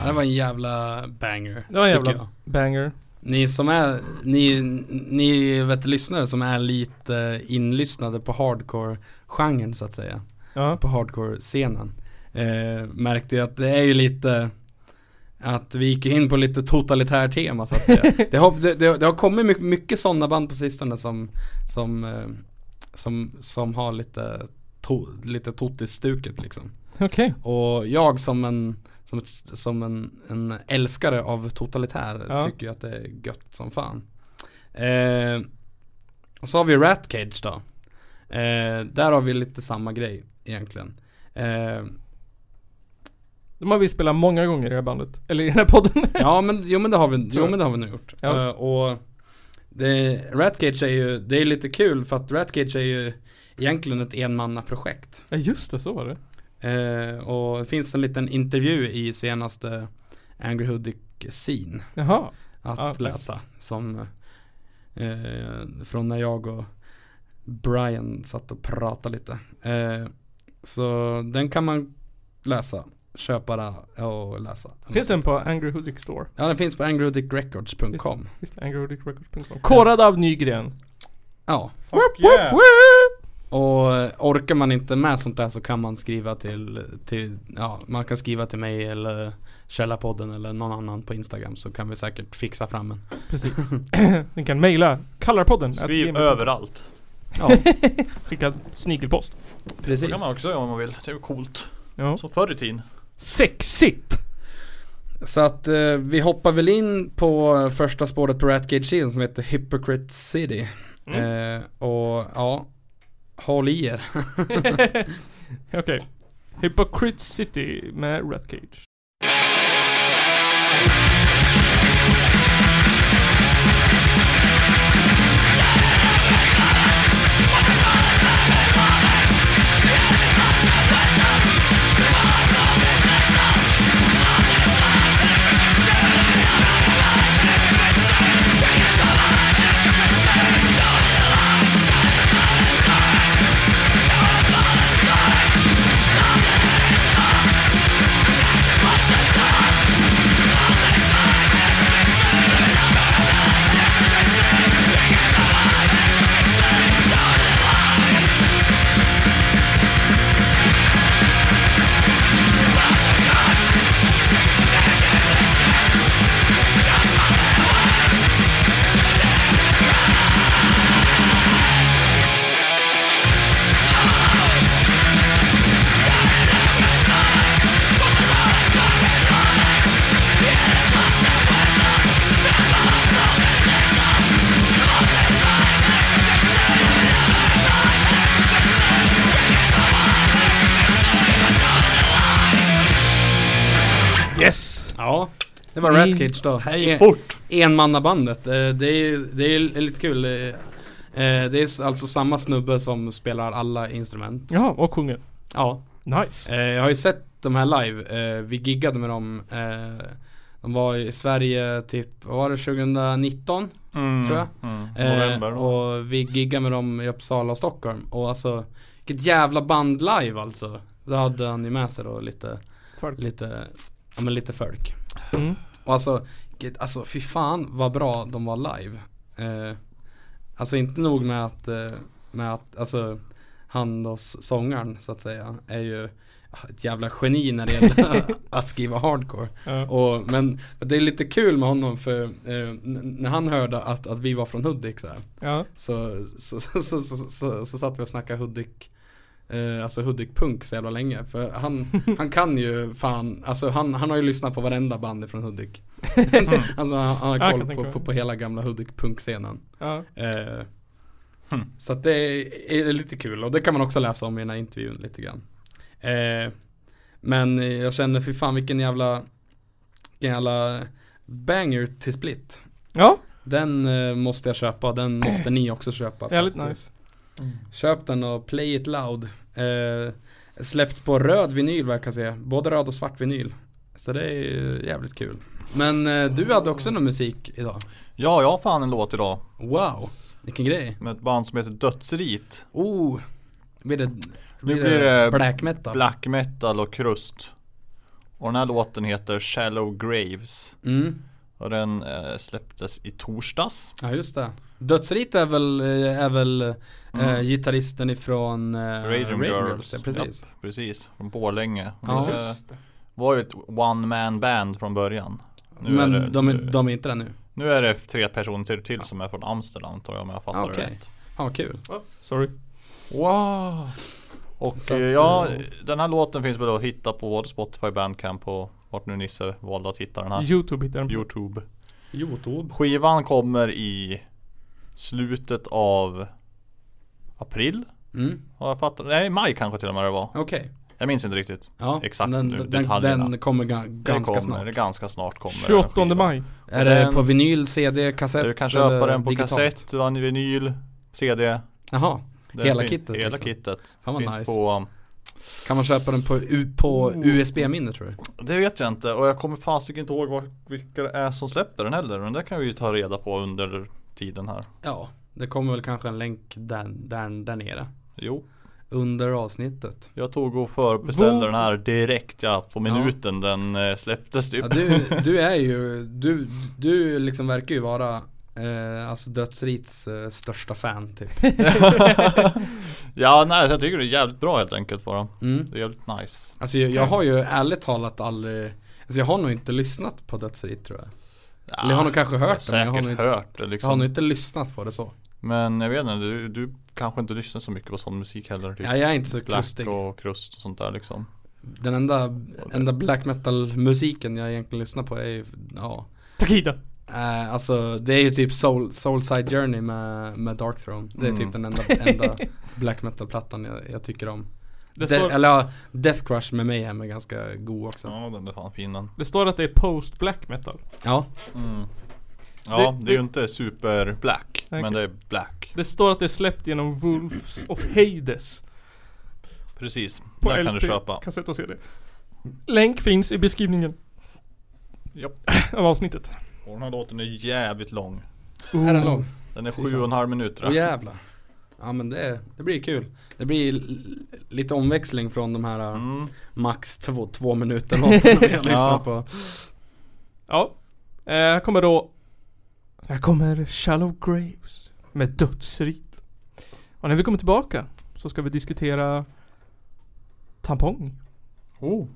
D: ja, Det var en jävla banger
B: Det var en
D: tycker
B: jävla banger.
D: Ni som är, ni, ni vet lyssnare som är lite inlyssnade på hardcore-genren så att säga
B: Ja.
D: på hardcore-scenen eh, märkte ju att det är ju lite att vi gick in på lite totalitär tema så att säga. det, har, det, det, det har kommit mycket, mycket sådana band på sistone som som, eh, som, som har lite, to, lite totis-stuket liksom.
B: Okej.
D: Och jag som en som, ett, som en, en älskare av totalitär
B: Ja.
D: tycker ju att det är gött som fan. Eh, och så har vi Ratcage då. Eh, där har vi lite samma grej egentligen. Eh,
B: De har vi spelat många gånger i det här bandet. Eller i den här podden.
D: ja men, jo, men, det har vi, jo
B: jag.
D: men det har vi nu gjort.
B: Ja.
D: Eh, och det, Ratcage är ju, det är lite kul för att Ratcage är ju egentligen ett enmannaprojekt.
B: Ja just det, så var det.
D: Eh, och det finns en liten intervju i senaste Angry Hoodic Scene
B: Jaha.
D: att
B: Ja,
D: läsa. Som eh, från när jag och Brian satt och pratade lite. Eh, så den kan man läsa, köpa där och läsa.
B: Finns den på Angry Hoodic Store?
D: Ja den finns på angryhoodicrecords.com.
B: Visst, angryhoodicrecords.com. Korad av Nygren.
D: Ja,
E: Fuck yeah!
D: och eh, orkar man inte med sånt där så kan man skriva till, till ja man kan skriva till mig eller Källarpodden eller någon annan på Instagram så kan vi säkert fixa fram en.
B: Precis. Ni kan mejla kallarpodden.
E: Skriv överallt.
D: Ja,
B: Skicka snigelpost.
E: Det
D: precis.
E: kan man också göra om man vill. Det är ju coolt.
B: Ja.
E: Som förr i tiden.
B: Sexigt!
D: Så att eh, vi hoppar väl in på första spåret på Ratgate Shield som heter Hypocrite City. Eh, och ja, håll i er.
B: Okej. Hypocrite City med Rat Cage. Yes!
D: Ja, det var
B: Mm.
D: Rat Cage då. En-
E: Fort!
D: Enmannabandet. Eh, Det är ju det är ju lite kul. Eh, eh, Det är alltså samma snubbe som spelar alla instrument.
B: Jaha, och sjunger.
D: Ja.
B: Nice.
D: Eh, Jag har ju sett de här live. Eh, Vi giggade med dem. eh, De var i Sverige typ, vad var det, 2019?
E: Mm.
D: Tror jag.
E: Mm.
D: Eh,
E: November.
D: och vi giggade med dem i Uppsala och Stockholm. Och alltså, vilket jävla band live alltså. Då hade han ju med sig då lite,
B: Folk.
D: lite, ja men lite folk.
B: Mm.
D: Och alltså, gud, alltså fy fan vad bra de var live. Eh, alltså inte nog med att, eh, med att alltså, han då s- sångaren så att säga är ju ett jävla geni när det gäller att skriva hardcore.
B: Ja.
D: Och, men det är lite kul med honom för eh, n- när han hörde att, att vi var från Hudik så, här,
B: ja.
D: så, så, så, så, så, så, så satt vi och snackade Hudik eh, Alltså Hudik Punk så jävla länge för han, han kan ju fan, alltså han, han har ju lyssnat på varenda band från Hudik Alltså han, han
B: Ja,
D: har
B: jag kan
D: koll
B: tänka
D: på,
B: mig.
D: på, på hela gamla Hudik-punkscenen.
B: ja.
D: Eh,
E: Hmm.
D: Så att det är, är lite kul och det kan man också läsa om i den här intervjun lite grann. Eh, men eh, jag känner fy fan vilken jävla, vilken jävla banger till split.
B: Ja,
D: Den eh, måste jag köpa, den måste ni också köpa.
B: jävligt
D: faktiskt.
B: nice.
D: Köp den och play it loud. Eh, släppt på röd vinyl verkar jag se. Både röd och svart vinyl. Så det är ju jävligt kul. Men eh, du hade också någon musik idag.
E: Ja, jag har fan en låt idag.
D: Wow, vilken grej.
E: Med ett band som heter Dödsrit.
D: Oh, blir det, blir
E: blir det
D: det black metal?
E: Black metal och krust. Och den här låten heter Shallow Graves.
D: Mm.
E: Och den eh, släpptes i torsdags.
D: Ja just det. Dödsrit är väl, eh, är väl eh,
E: Mm.
D: gitarristen ifrån eh, Radium Girls. Ja, precis.
E: Japp, precis. Från Borlänge.
D: Ja.
E: Det eh, var ju ett one man band från början. Nu
D: Men
E: är det,
D: de, är,
E: nu-
D: de är inte där nu.
E: Nu är det tre personer till, till som är från Amsterdam antar jag om jag fattar
D: Okej.
E: det rätt.
D: Ja, vad kul.
B: Sorry.
E: Wow! Och
D: Så
E: eh,
D: att,
E: ja,
D: eh,
E: den här låten finns väl att hitta på både Spotify, Bandcamp och vart nu Nisse valde att hitta den här.
B: Youtube hittar den på.
E: Youtube.
D: Youtube.
E: Skivan kommer i slutet av april.
D: Mm.
E: Har jag fattat? Nej, maj kanske till och med det var.
D: Okej.
E: Jag minns inte riktigt.
D: Ja,
E: Exakt
D: den,
E: nu,
D: den,
E: detaljerna.
D: den kommer ga- ganska
E: det kommer,
D: snart.
E: Det ganska snart kommer den
B: 28
E: skivan.
B: maj.
D: Är
E: Den-
D: det på vinyl, CD, kassett?
E: Du kan
D: eller
E: köpa den på
D: digitalt?
E: kassett, du har en vinyl, CD.
D: Jaha,
E: Den
D: Hela
E: fin-
D: kittet,
E: Hela
D: liksom.
E: kittet.
D: Fan vad
E: finns
D: nice.
E: på,
D: kan man köpa den på, U- på
E: Oh.
D: USB-minne tror du?
E: det vet jag inte och jag kommer fasiken inte ihåg vad, vilka det är som släpper den heller. Men det kan vi ju ta reda på under tiden här.
D: Ja, det kommer väl kanske en länk där, där, där nere.
E: Jo,
D: Under avsnittet.
E: jag tog och förbeställde
B: Vad-
E: den här direkt ja, på minuten den eh, släpptes typ.
D: Ja, du, du är ju, du, du liksom verkar ju vara eh, alltså Dödsrits eh, största fan typ.
E: ja, nej, så jag tycker det är jävligt bra helt enkelt bara.
D: Mm.
E: Det är jävligt nice.
D: Alltså jag, jag har ju ärligt talat aldrig, alltså jag har nog inte lyssnat på Dödsrit tror jag.
E: Ja,
D: Eller jag har nog kanske
E: jag har
D: hört det, men jag har
E: säkert
D: nog, inte-
E: hört det
D: jag har
E: liksom.
D: nog inte lyssnat på det så.
E: Men jag vet inte, du, du kanske inte lyssnar så mycket på sån musik heller. Typ.
D: Ja, jag är inte så
E: Black
D: krustig.
E: och krust och sånt där liksom.
D: Den enda, enda black metal musiken jag egentligen lyssnar på är ju, ja
B: Takida.
D: Eh, alltså det är ju typ Soul, Soulside Journey med, med Dark Throne. Det är
E: Mm.
D: typ den enda, enda black metal-plattan jag, jag tycker om.
B: Det,
D: De-
B: står,
D: Eller ja, Death Crush med Mayhem är ganska god också. Ja,
E: Ja den är fan fin den.
B: det står att det är post black metal.
E: Mm. Ja,
B: Det-
E: det, är ju inte super black,
B: Okej.
E: men det är black.
B: Det står att det är släppt genom Wolves of Hades.
E: Precis,
B: På
E: där
B: LP,
E: kan du köpa.
B: kassett och CD. Länk finns i beskrivningen
E: Japp.
B: av avsnittet.
E: Och den här låten är jävligt lång.
D: Är den lång?
E: Den är
D: Fy
E: sju
D: fan.
E: och en halv minut tror
D: Åh
E: jag.
D: jävlar. Ja men det, det blir kul. Det blir l- lite omväxling från de här eh,
E: Mm.
D: max två, två minuter låtarna vi har
E: Ja.
D: lyssnat på.
B: Ja. Eh, Här kommer då... Här kommer Shallow Graves med dödsrit. Och när vi kommer tillbaka så ska vi diskutera tampong.
E: Oh.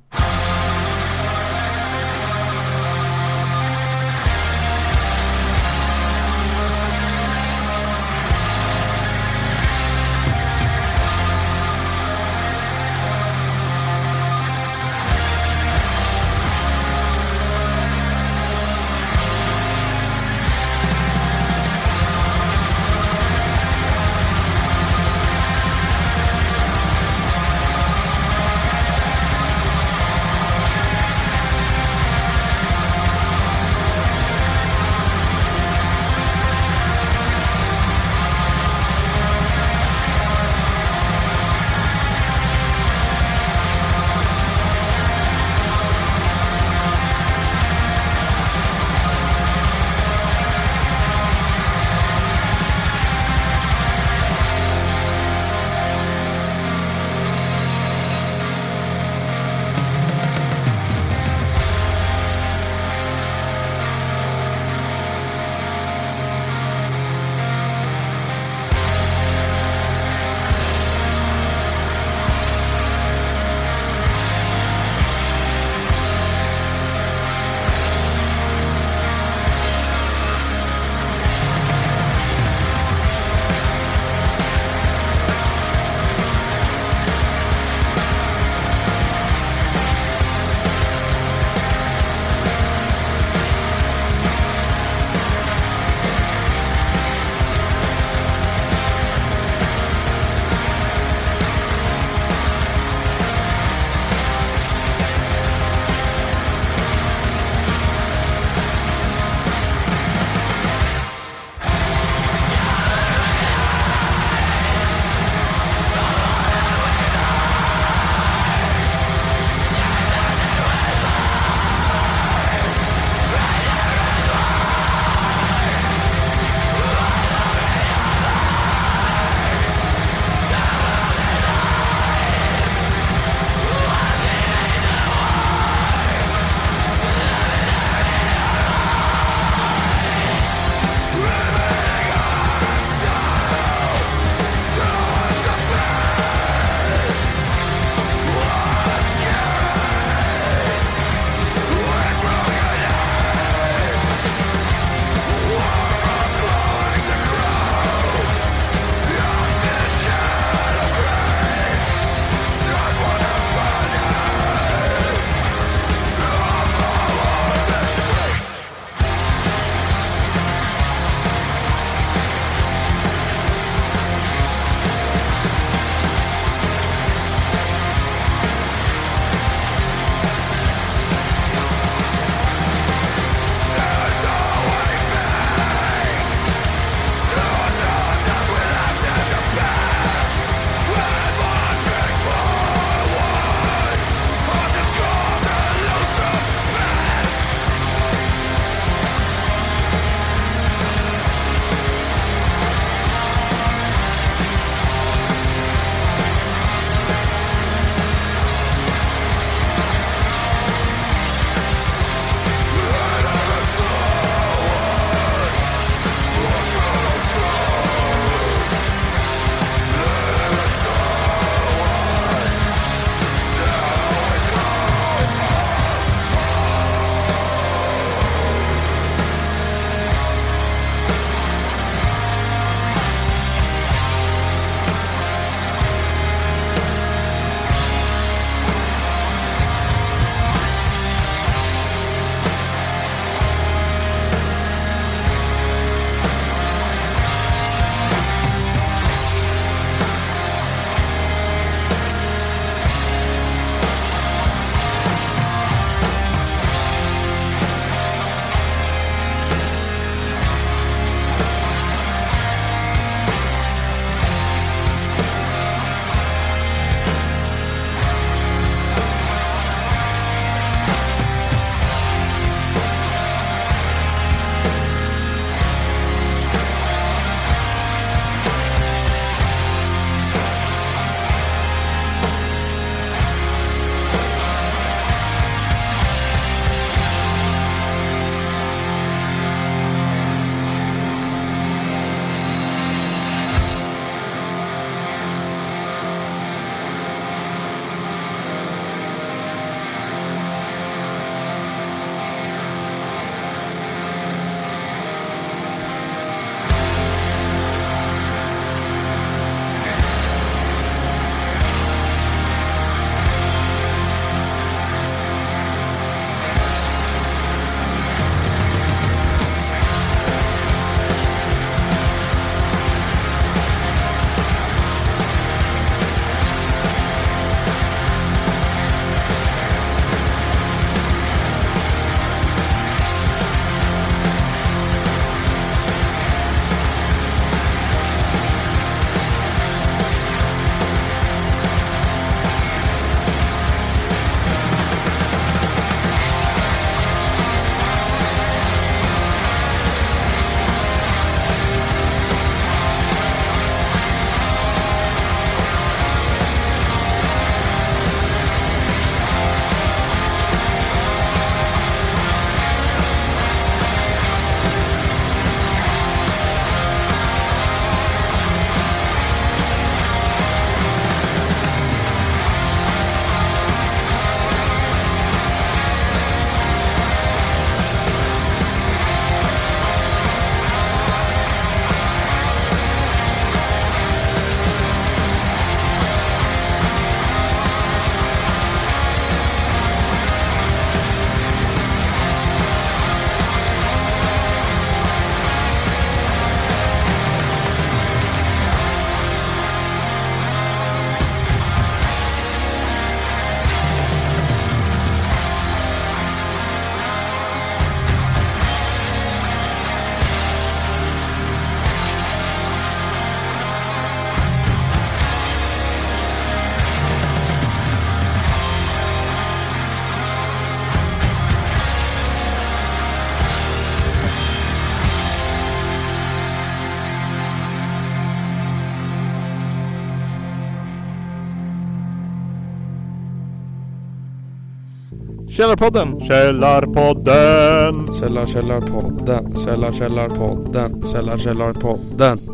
B: Källarpodden!
E: Källarpodden!
F: Källar, källarpodden, källar, källarpodden, källar, källarpodden.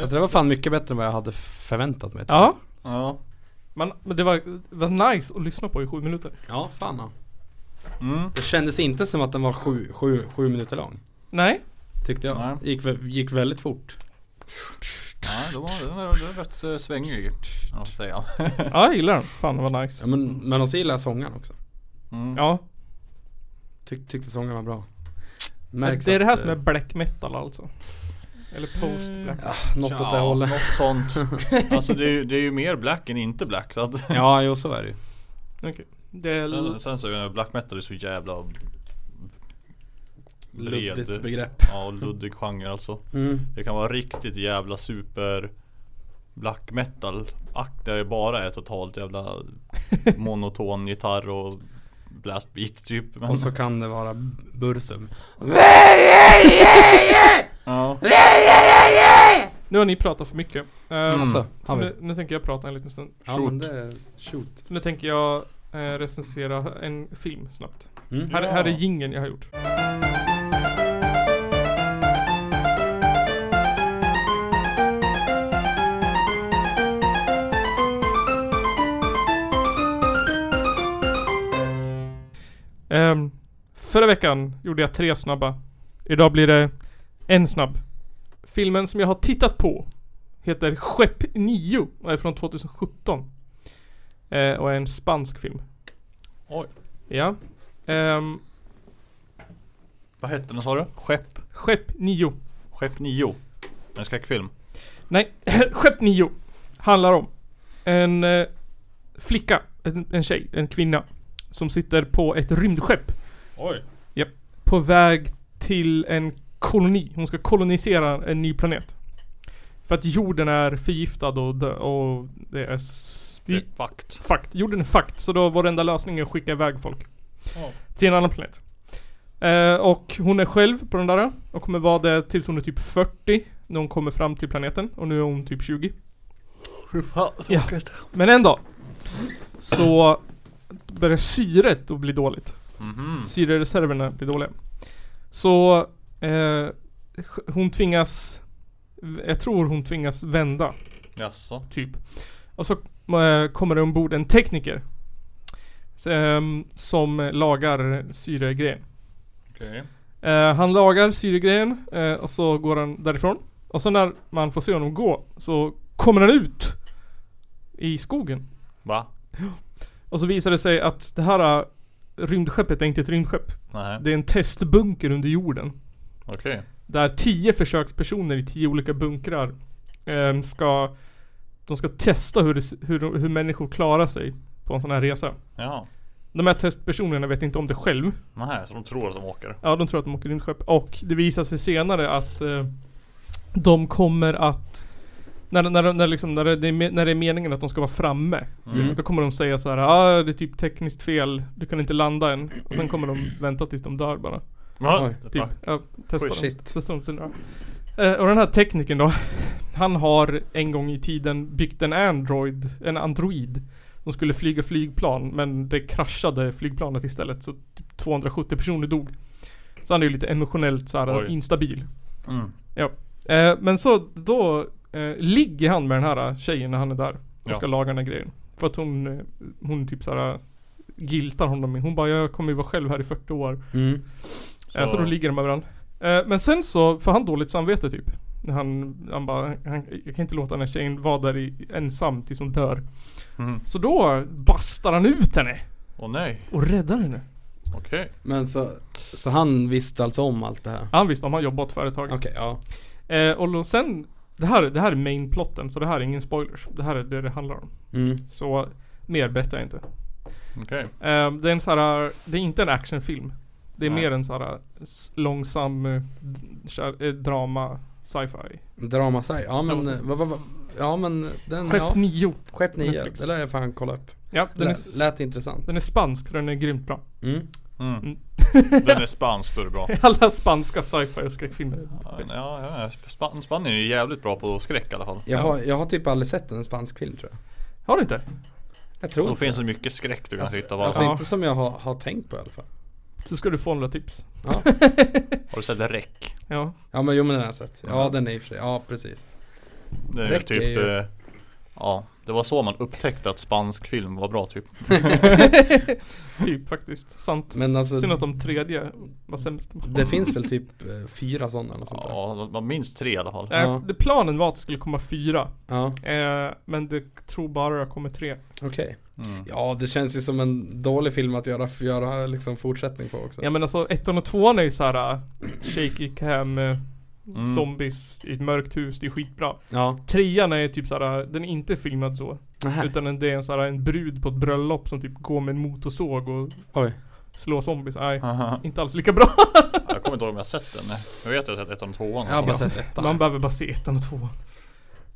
D: Alltså det var fan mycket bättre än vad jag hade förväntat mig. typ.
B: Ja,
E: Ja.
B: man, men det var, det var nice att lyssna på i sju minuter.
D: Ja, fan ja.
E: Mm.
D: Det kändes inte som att den var sju, sju, sju minuter lång.
B: Nej,
D: Tyckte jag.
E: Nej.
D: Gick, vä- gick väldigt fort.
E: Ja, det var, den, är, den är rätt eh, svängig. kan man säga.
B: ja, jag gillar den. Fan det var nice.
D: Ja, men, men också gillar jag sångaren också.
E: Mm.
B: Ja,
D: Tyck, tyckte sångaren var bra.
B: men
D: Märks
B: det är det här
D: att,
B: som är
D: eh,
B: black metal alltså. Eller post black.
D: Något åt det
E: Ja,
D: hållet.
E: Något sånt. Alltså det är, ju, det är ju mer black än inte black. Så att,
D: Ja, jo så är det ju.
B: Okej. Det är l-
E: sen så är det- black metal är så jävla bred.
D: Luddigt begrepp.
E: Ja, och luddig genre alltså.
D: Mm.
E: Det kan vara riktigt jävla super black metal akt där det bara är totalt jävla monoton gitarr och blastbeat typ. Men,
D: Och så kan det vara Bursum.
B: Mm.
E: ja.
B: nu har ni pratat för mycket. Eh,
D: Alltså,
B: så
D: har vi.
B: nu, nu tänker jag prata en liten stund.
D: Ja, men det, shoot.
B: Så nu tänker jag eh, recensera en film snabbt.
D: Mm.
B: Här,
E: Ja.
B: här är jingeln jag har gjort. Ehm, förra veckan gjorde jag tre snabba. Idag blir det en snabb. Filmen som jag har tittat på heter Skepp 9 och är från 2017. Eh, och är en spansk film.
E: Oj.
B: Ja. Ehm,
E: Vad hette den sa du? Skepp?
B: Skepp 9.
E: Skepp 9? En skräckfilm?
B: Nej, Skepp 9 handlar om en eh, flicka, en, en tjej, en kvinna som sitter på ett rymdskepp
E: Oj!
B: på väg till en koloni. Hon ska kolonisera en ny planet. För att jorden är förgiftad och, dö- och det är s-
E: Det är fucked.
B: Fakt. Jorden är fakt, så då var den enda lösningen att skicka iväg folk.
E: Ja.
B: Till en annan planet. Eh, och hon är själv på den där och kommer vara det tills hon är typ 40 när hon kommer fram till planeten och nu är hon typ 20.
E: Fy fan, så
B: Ja.
E: tråkigt.
B: Men en dag så börjar syret att bli dåligt.
E: Mhm.
B: Syrereserverna blir dåliga. Så eh, hon tvingas, jag tror hon tvingas vända
E: Jaså?
B: typ. Och så eh, kommer det ombord en tekniker. s- ehm, som lagar syregrejen.
E: Okej.
B: Eh, han lagar syregrejen eh, och så går han därifrån. Och så när man får se honom gå så kommer han ut i skogen.
E: Va?
B: Och så visar det sig att det här eh, rymdskeppet är inte ett rymdskepp.
E: Nej.
B: Det är en testbunker under jorden.
E: Okej.
B: Där tio försökspersoner i tio olika bunkrar ehm, ska De ska testa hur, det s- hur, hur människor klarar sig på en sån här resa.
E: Ja.
B: De här testpersonerna vet inte om det själv.
E: Nej, så de tror att de åker.
B: Ja, de tror att de åker rymdskepp. Och det visar sig senare att eh, de kommer att när, när, de- när, liksom, när, det är, me- när det är meningen att de ska vara framme,
E: Mm.
B: då kommer de säga så här ah, det är typ tekniskt fel, du kan inte landa än. Och sen kommer de vänta tills de dör bara.
E: Ja,
D: Oj,
E: det är
B: Typ,
E: fuck.
B: ja, testa
E: Oj,
B: dem.
D: shit.
B: Testa dem sen, ja. Eh, och den här tekniken då. Han har en gång i tiden byggt en Android, en Android. De skulle flyga flygplan men det kraschade flygplanet istället så typ 270 personer dog. Så han är ju lite emotionellt så här
E: Oj.
B: instabil.
E: Mm.
B: Eh, men så då eh, ligger han med den här eh, tjejen när han är där. Och
E: Ja.
B: ska laga den här grejen. För att hon, eh, hon typ såhär giltar honom. Hon bara jag kommer ju vara själv här i 40 år.
D: Mm.
B: Så, så då ligger de med varandra. Eh, men sen så får han dåligt samvete typ. När Han, han bara, han, jag kan inte låta den här tjejen vara där i, ensam tills hon dör.
E: Mhm.
B: Så då bastar han ut henne
E: Åh nej,
B: och räddar henne.
E: okej.
D: Men så, så han visste alltså om allt det här?
B: Han visste, de har jobbat företag.
D: Okej, ja.
B: Eh, och då sen, det här, det här är main plotten så det här är ingen spoilers. Det här är det det handlar om.
D: Mm.
B: Så mer berättar jag inte.
E: Okej.
B: Eh, det är en så här, det är inte en actionfilm. Det är
E: Nej.
B: mer en så här s- långsam eh, d- kär- eh, drama sci-fi.
D: Drama sig. Ja men,
B: Drama
D: eh,
B: sig.
D: vad, vad, vad, ja men den,
B: Skepp
D: ja.
B: 9.
D: Skepp 9.
B: Netflix.
D: Det lär jag fan kolla upp.
B: Ja, den är
D: Lät, lät intressant.
B: Den är spansk, den är grymt bra.
D: Mm.
E: Mm.
B: Mm.
E: Den är spansk, då är det bra.
B: Alla spanska sci-fi och skräckfilmer är
E: Ja,
B: bäst.
E: ja, ja. Span- Spanien är ju jävligt bra på skräck i alla fall.
D: Jag, har, jag har typ aldrig sett en spansk film tror jag.
B: Har du inte?
D: Jag tror
E: Då
D: inte
E: finns det mycket skräck du kan
D: Alltså,
E: hitta bara.
D: alltså
B: Ja.
D: inte som jag har, har tänkt på i alla fall.
B: Så ska du få några tips.
E: Har du sett Räck?
B: Ja.
D: Ja men jo men den har jag sett. Ja
E: Ja.
D: den är i och för sig, ja precis.
E: Det är ju
D: Räck är
E: typ,
D: ju-
E: eh, Ja, det var så man upptäckte att spansk film var bra typ.
B: typ faktiskt. Sant.
D: Men alltså
B: Synd att de tredje var sämst.
D: det finns väl typ eh, fyra sådana eller sånt där.
E: Ja, man minns tre i alla fall.
B: Eh,
D: Ja.
B: det, planen var att det skulle komma fyra.
D: Ja,
B: Eh, men det tror bara det kommer tre.
D: okej.
E: Mm.
D: Ja det känns ju som en dålig film att göra, göra liksom fortsättning på också.
B: Ja men alltså ettan och tvåan är ju såhär äh, shaky cam, eh,
E: Mm.
B: zombies i ett mörkt hus, det är skitbra.
D: Ja.
B: Trean är ju typ såhär, äh, den är inte filmad så.
D: Nähä.
B: Utan en- det är en såhär en brud på ett bröllop som typ går med en motorsåg och
D: Oj.
B: slår zombies. Nej,
E: Haha.
B: inte alls lika bra.
E: jag kommer inte ihåg om jag har sett den. Jag vet att jag har sett ettan och tvåan.
D: Jag har bara sett ettan.
B: Man behöver bara se ettan och tvåan.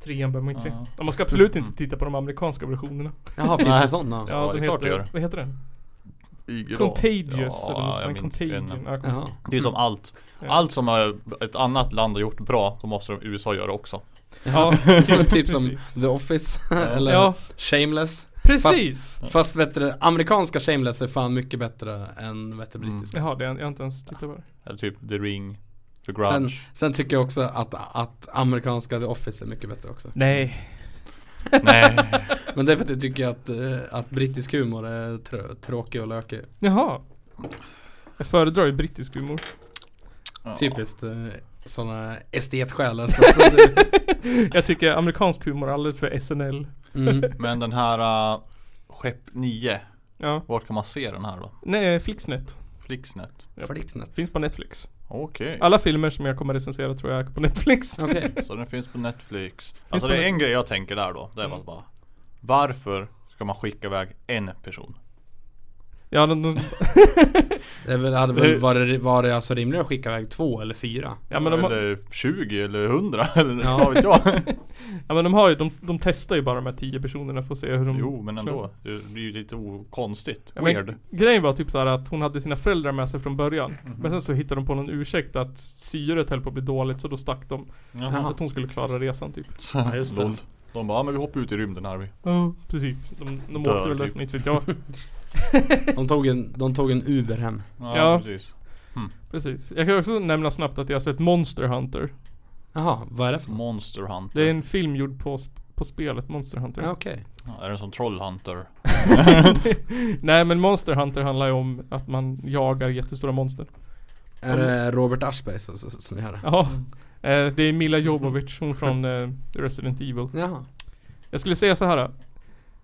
B: Trean behöver man inte
E: Ja.
B: se. Och Man ska absolut inte titta på de amerikanska versionerna.
D: Jaha finns det sådana?
B: Ja,
E: det är
B: den
E: klart det
B: heter,
E: gör.
B: vad heter den?
E: Igel.
B: Contagious
E: Ja,
B: eller något
E: jag
B: sånt. där.
E: minns
B: Contagion.
E: en.
B: Ja,
D: Jaha.
E: Det är som
B: Mm.
E: allt. Allt som eh, ett annat land har gjort bra, då måste de USA göra också.
B: Ja,
D: Ja,
B: typ,
D: typ som
B: precis.
D: The Office eller
B: Ja,
D: Shameless.
B: precis!
D: Fast vet du, amerikanska Shameless är fan mycket bättre än vet du,
E: Mm.
D: brittiska.
B: Jaha, det, jag har inte ens tittat på det.
E: Eller typ The Ring, The
D: Sen,
E: Grudge.
D: sen tycker jag också att, att amerikanska The Office är mycket bättre också.
B: Nej.
E: Nej.
D: Men det är för att jag tycker att, eh, att brittisk humor är trö, tråkig och lökig.
B: Jaha. Jag föredrar ju brittisk humor.
E: Ja.
D: Typiskt eh, sådana estetskäl alltså. Så det-
B: Jag tycker amerikansk humor är alldeles för SNL.
D: mm.
E: Men den här uh, Skepp 9,
B: Ja.
E: vart kan man se den här då?
B: Nej, Flixnet.
E: Flixnet?
B: Japp.
D: Flixnet.
B: Finns på Netflix.
E: Okej.
B: Alla filmer som jag kommer recensera tror jag är på Netflix.
D: Okej.
E: Så den finns på Netflix. Alltså
B: på
E: det är
B: Netflix.
E: en grej jag tänker där då. Det är
B: Mm.
E: bara Varför ska man skicka iväg en person?
B: Ja, de, de,
D: Det är väl- hade väl varit, varit alltså rimligare att skicka iväg två eller fyra?
B: ja, men de, har-
E: Eller 20 eller 100 eller
D: Ja.
E: vad vet jag?
B: ja, men de har ju, de, de testar ju bara de här tio personerna för att se hur de...
E: Jo men ändå. Det blir ju lite o- konstigt.
B: Ja, men-
E: Weird.
B: Grejen var typ så här att hon hade sina föräldrar med sig från början.
E: Mhm.
B: Men sen så hittade de på någon ursäkt att syret höll på att bli dåligt så då stack de. Så
E: Jaha.
B: att hon skulle klara resan typ.
E: Ja, just det. De bara, ja, men vi hoppar ut i rymden här vi.
B: Ja, precis. De, de
E: Dör,
B: åkte väl
E: typ.
B: därifrån, inte vet jag.
D: De tog en, de tog en Uber hem.
E: Ja,
B: Ja.
E: precis.
B: Precis. Jag kan också nämna snabbt att jag har sett Monster Hunter.
D: Jaha, vad är det för något?
E: Monster Hunter.
B: Det är en film gjord på, sp- på spelet Monster Hunter.
D: Ja, okej.
E: Ja, är det en sån trollhunter?
B: Nej men Monster Hunter handlar ju om att man jagar jättestora monster.
D: Är det Robert Aschberg som, som- som gör det?
B: Ja. Eh, det är Mila Jovovich, hon från eh, Resident Evil.
D: Jaha.
B: Jag skulle säga så här.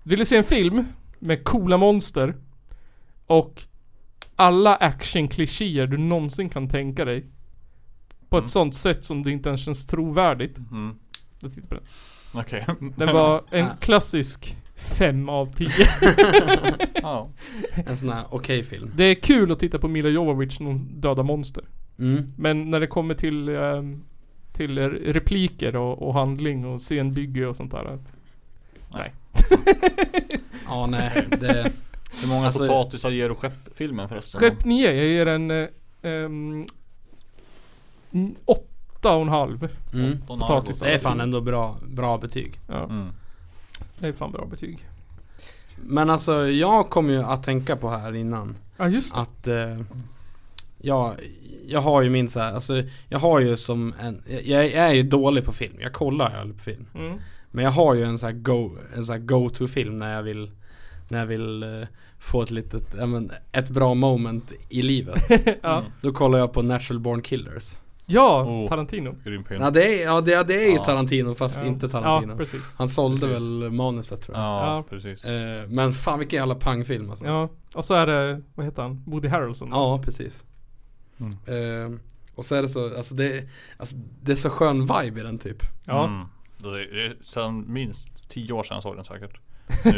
B: Vill du se en film med coola monster och alla actionklichéer du någonsin kan tänka dig på ett
E: Mm.
B: sånt sätt som det inte ens känns trovärdigt.
E: Mm.
B: Då tittar jag på den.
E: Okej.
B: Den var en klassisk 5 av 10.
E: ja.
D: En sån här okej film.
B: Det är kul att titta på Mila Jovovich när hon dödar monster.
D: Mm.
B: Men när det kommer till, ehm, till re- repliker och, och handling och scenbygge och sånt där.
D: Ja, nej. Det,
E: Hur många
D: Alltså-
E: potatisar ger du skepp-filmen förresten?
B: Skepp 9, jag ger en... Eh, ehm, n- åtta och en halv.
D: mm.
E: Åtta och en halv
B: potatis.
E: och
D: det är fan ändå bra, bra betyg.
B: Ja,
E: Mm.
B: det är fan bra betyg.
D: Men alltså, jag kom ju att tänka på här innan
B: Ja just det.
D: att eh, ja, jag har ju min så här, alltså jag har ju som en, jag, jag är ju dålig på film, jag kollar ju aldrig på film.
B: Mm.
D: Men jag har ju en sån här go, en sån här go-to film när jag vill När jag vill eh, få ett litet, ja, men, ett bra moment i livet
B: Ja.
D: Då kollar jag på Natural Born Killers
B: Ja,
E: Oh.
B: Tarantino.
E: Grym film.
D: Ja det är, ja, det, ja, det är ju
E: Ja.
D: Tarantino fast
B: ja.
D: inte Tarantino
B: Ja, precis.
D: Han sålde
E: Precis.
D: väl manuset tror jag
E: Ja,
B: Ja.
E: precis.
D: Eh, Men fan vilken jävla pangfilm alltså
B: Ja, och så är det, vad heter han? Woody Harrelson.
D: Ja, precis
E: Mm.
D: Eh, Och så är det så, alltså det, alltså det är så skön vibe i den typ
B: Ja.
E: Mm. Det är- det är sen minst tio år sedan jag såg den säkert.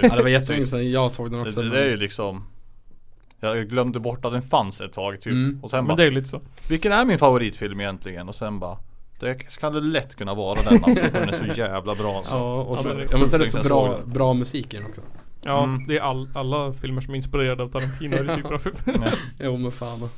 D: Ja det var jättelänge sedan jag såg den också
E: Det, det är ju liksom Jag glömde bort att den fanns ett tag typ.
D: Mm.
E: Och sen bara,
B: Men det är ju lite så.
E: vilken är min favoritfilm egentligen? Och sen bara det ska det lätt kunna vara den alltså, för den är så jävla bra alltså.
D: Ja, och så,
B: Ja, men det är
D: ja, men så är det
E: sjukt
D: så
E: länge sedan jag
D: bra,
E: såg
D: bra musik i den också
B: Ja,
E: Mm.
B: det är all, alla filmer som är inspirerade av Tarantino är det typ bra film.
E: Nej.
D: Jo men fan.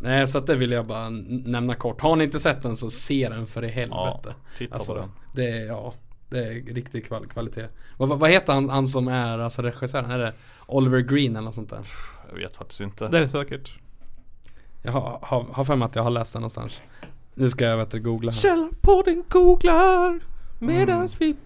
D: Nej så att det vill jag bara n- nämna kort. Har ni inte sett den så se den för i helvete.
E: Titta
D: alltså,
E: på den.
D: Det är ja. Det är riktig kval kvalitet. Vad, vad vad heter han, han som är alltså regissören? Är det Oliver Green eller något sånt där?
E: Jag vet faktiskt inte.
B: Det är det säkert.
D: Jag har, har, har för mig att jag har läst det någonstans. Nu ska jag vet du, googla här.
B: Källarpodden googlar medans
E: Mm.
B: vi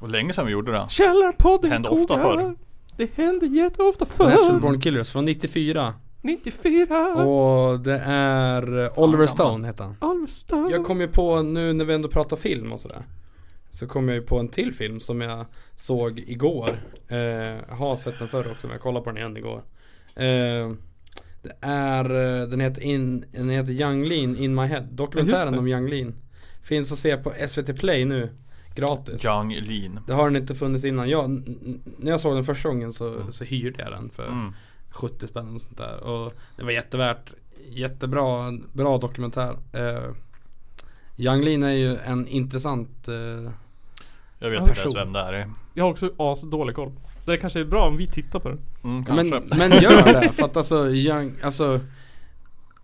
E: Och länge sedan vi gjorde det.
B: Källarpodden
E: Det hände ofta
B: googlar.
E: förr.
B: Det hände jätteofta
D: Natural
B: förr.
D: Born Killers från 94
B: 94.
D: och det är eh, Oliver Stone heter han.
B: Alvesta.
D: Jag kom ju på nu när vi ändå pratar film och sådär Så kom jag ju på en till film som jag såg igår eh, Har sett den förr också men jag kollade på den igen igår eh, Det är, eh, den heter, in, den heter Young Lean In My Head
B: Ja, just
D: Dokumentären
B: det.
D: om Young Lean Finns att se på SVT Play nu Gratis
E: Gang Lean.
D: Det har den inte funnits innan. Jag, n- n- när jag såg den första gången så, så hyrde jag den för
E: Mm.
D: 70 spänn och sånt där. Och det var jättevärt. Jättebra, en bra dokumentär. Eh, Yang Lin är ju en intressant eh,
E: Jag vet
B: Ja,
E: inte ens
D: person.
E: vem det här är. Mm,
B: Jag har också asdålig koll. Så det kanske är bra om vi tittar på den.
E: Mm, kanske.
D: men, men gör det för att alltså, Yang, alltså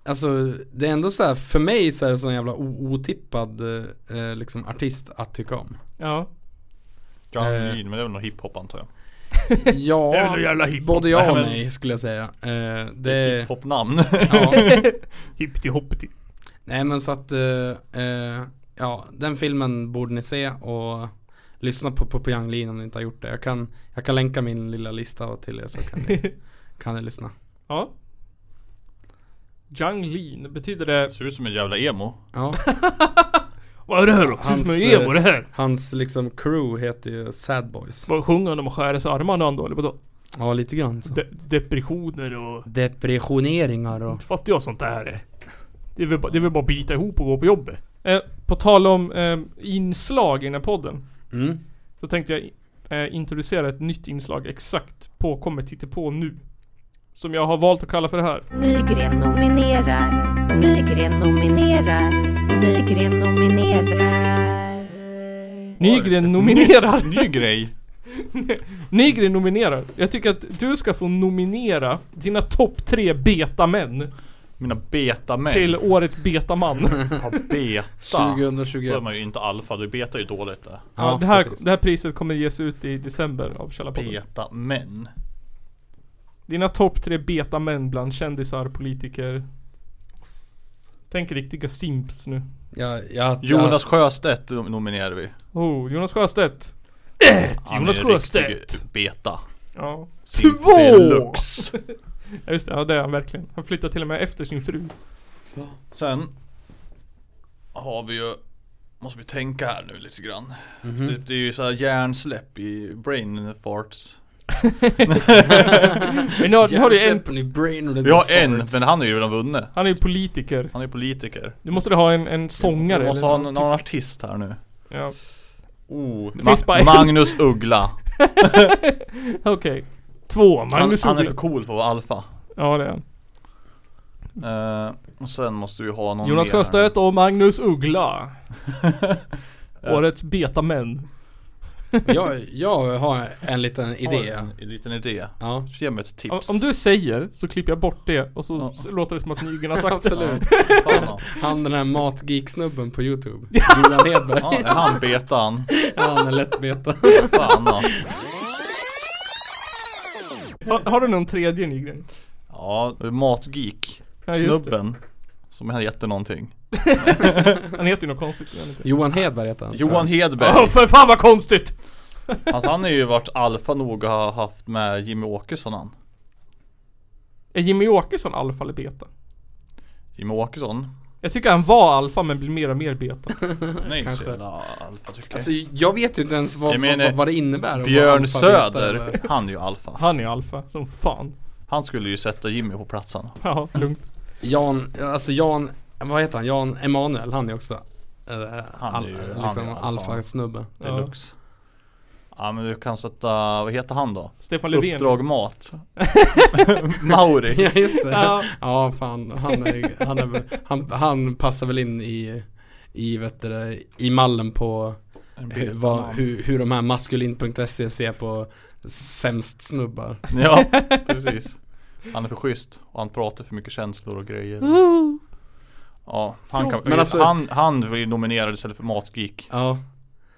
D: Alltså det är ändå så här för mig så är det sån jävla o- otippad eh, liksom artist att tycka om
B: Ja.
E: Gang
D: eh,
E: Lean, men det är väl någon hiphop antar jag.
B: Det är
D: Ja,
B: väl jävla hiphop.
D: både ja
E: Nej,
D: och
E: men-
D: nej skulle jag säga eh,
E: Det är
D: Det,
E: ett hiphop-namn.
D: ja.
B: Hippity hoppity.
D: Nej men så att, eh, eh, ja den filmen borde ni se och lyssna på, på, på Yang Lean om ni inte har gjort det. Jag kan, jag kan länka min lilla lista till er så kan ni, kan ni lyssna.
B: Ja. Zhang Lin, betyder det...
E: Ser ut som en jävla emo.
D: Ja,
B: Vad är det här då? Precis
D: Hans,
B: som en emo det här.
D: hans liksom crew heter ju Sad Boys.
B: Vad sjunger han om att skära sig i armarna han då eller vadå?
D: Ja lite grann så.
B: De- depressioner och...
D: Depressioneringar och
B: Inte fattar jag sånt där. eh. Det är väl, bara- det är väl bara att bita ihop och gå på jobbet. Eh, på tal om eh, inslag i den här podden.
D: mm.
B: Så tänkte jag eh, introducera ett nytt inslag exakt på Kommer titta på nu. Som jag har valt att kalla för det här.
G: Nygren nominerar. Nygren nominerar. Nygren nominerar.
B: Nygren nominerar.
E: Ny grej.
B: Nygren nominerar. Jag tycker att du ska få nominera dina topp tre betamän
E: Mina betamän.
B: till årets betaman.
E: Ja, beta.
D: 2021.
E: Då är man ju inte alfa, du beta är ju dåligt det.
B: Ja,
D: Ja,
B: det, här,
D: precis.
B: det här priset kommer ges ut i december av Källarpodden.
E: Betamän.
B: Dina topp tre betamän bland kändisar, politiker. Tänk riktiga simps nu.
D: Ja, ja,
E: Jonas Sjöstedt nom- nominerar vi.
B: Oh, Jonas Sjöstedt.
E: Han
B: Jonas
E: är en riktig typ
B: Sjöstedt.
E: Beta.
B: Ja.
E: Simp
B: Två!
E: deluxe.
B: Ja just det, ja det är han verkligen. Han flyttar till och med efter sin fru.
E: Sen har vi ju Måste vi tänka här nu lite grann.
B: Mhm.
E: Det, det är ju såhär hjärnsläpp i brain farts.
B: Men nu har, nu har du en,
D: Hjärnsläppen i brain och det
E: Vi har
D: är
E: en,
D: farts.
E: men han är ju redan vunnen.
B: han är ju politiker.
E: Han är politiker.
B: Du måste du ha en, en sångare
E: Vi måste
B: eller
E: ha
B: en
E: någon
B: artist.
E: artist här nu.
B: Ja,
E: Oh,
B: Det finns bara en.
E: Magnus Uggla.
B: okej. Två,
E: Han,
B: Magnus
E: han är
B: Uggla.
E: för cool för att vara alfa.
B: Ja det är han.
E: Eh, och sen måste vi ha någon
B: Jonas
E: mer här.
B: Sjöstedt och Magnus Uggla. Årets betamän.
D: jag, jag har en liten
E: Har
D: idé.
E: En, en liten idé.
D: Ja,
E: Ge mig ett
B: Om,
E: tips.
B: om du säger så klipper jag bort det och så
E: Ja.
B: s- låter det som att Nygren har sagt det.
D: absolut.
E: Fan, ja.
D: Han den här matgeek-snubben på youtube. Johan Hedberg.
E: Ja, är han betan?
D: Han är lättbeta.
E: Fan ja.
B: Har, har du någon tredje Nygren?
E: Ja, matgeek.
B: Ja, just det.
E: Snubben. Som hette någonting.
B: Han heter ju något konstigt. jag vet inte.
D: Johan Hedberg heter han.
E: Johan Hedberg.
B: Åh för fan vad konstigt!
E: Alltså han har ju varit alfa nog och har haft med Jimmy Åkesson han.
B: Är Jimmy Åkesson alfa eller beta?
E: Jimmy Åkesson?
B: Jag tycker han var alfa men blir mer och mer beta.
E: Nej inte så
D: Kanske.
E: jävla alfa tycker jag.
D: Alltså jag vet ju inte ens vad,
E: Jag menar,
D: vad, vad det innebär att vara
E: Björn
D: analfabet
E: Söder,
D: eller-
E: han är ju alfa.
B: Han är alfa som fan.
E: Han skulle ju sätta Jimmy på platsen.
B: Ja, lugnt.
D: Jan, alltså Jan, vad heter han? Jan Emanuel, han är också eh,
E: Han
D: al,
E: är ju- han är
D: liksom
E: ju alfa.
D: alfa-snubbe
B: Ja.
E: Deluxe. Ja men du kan sätta, vad heter han då?
B: Stefan Löfven.
E: Uppdrag Mat. Mauri.
D: Ja just det, ja.
B: Ja.
D: fan han, är, han, är, väl- han, han passar väl in i, i vet du, det, i mallen på
E: En
D: hur,
E: beta
D: vad,
E: man.
D: hur, hur de här maskulin.se ser E på sämst snubbar
E: Ja, precis. Han är för schysst och han pratar för mycket känslor och grejer. Ja, han, kan,
D: Men alltså-
E: han, han blir nominerad istället för Matgeek.
D: Ja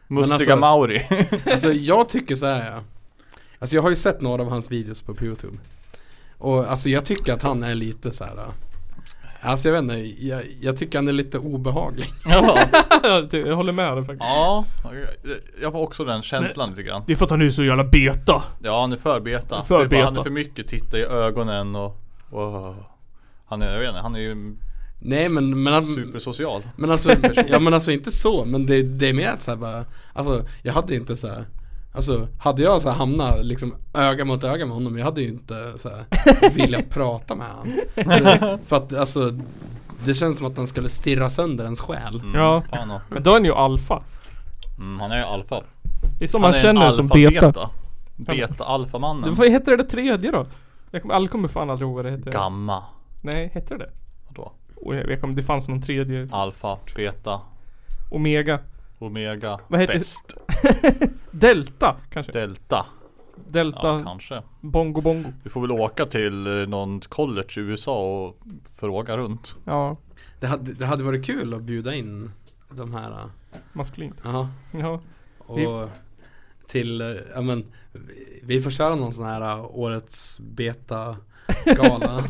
E: Mustiga
D: alltså-
E: Mauri.
D: Alltså jag tycker så här. ja. Alltså jag har ju sett några av hans videos på Youtube. Och alltså jag tycker att han är lite så här. ja. Alltså jag vet inte, jag, jag tycker han är lite obehaglig.
E: ja.
B: jag håller med dig faktiskt.
E: ja, jag har också den känslan lite grann.
B: Det är för att han är så jävla beta.
E: Ja, han är för beta.
B: För
E: Det är bara- Han är
B: beta.
E: för mycket, titta i ögonen och... och han är, jag vet inte, han är ju
D: Nej men, men, han,
E: supersocial.
D: men alltså, ja men alltså inte så, men det, det är mer att så här bara, alltså jag hade inte så här. Alltså hade jag så här hamnat liksom öga mot öga med honom, jag hade ju inte så här velat prata med honom. För att alltså det känns som att han skulle stirra sönder ens själ.
E: Mm,
B: Ja.
E: Fan och,
B: Men då är han ju alfa.
E: mm, han är ju alfa.
B: Det är som
E: Han
B: man
E: är en
B: känner som
E: alfa-beta.
B: beta.
E: Beta-alfamannen.
B: Det- Vad heter det där tredje då? Jag kommer, alla kommer fan aldrig ihåg vad det heter.
E: Gamma.
B: Nej, hette det det
E: Vadå?
B: Och jag vet inte om det fanns någon tredje.
E: Alfa, beta,
B: Omega.
E: omega,
B: Vad heter-
E: bäst,
B: Delta kanske?
E: delta.
B: Delta
E: Ja, kanske.
B: Bongo Bongo.
E: Du får väl åka till eh, någon college i USA och fråga runt.
B: Ja,
D: Det hade, det hade varit kul att bjuda in de här,
B: maskulint.
D: ja.
B: Ja.
D: Och till, eh, ja men vi- Vi får köra någon sån här eh, årets beta gala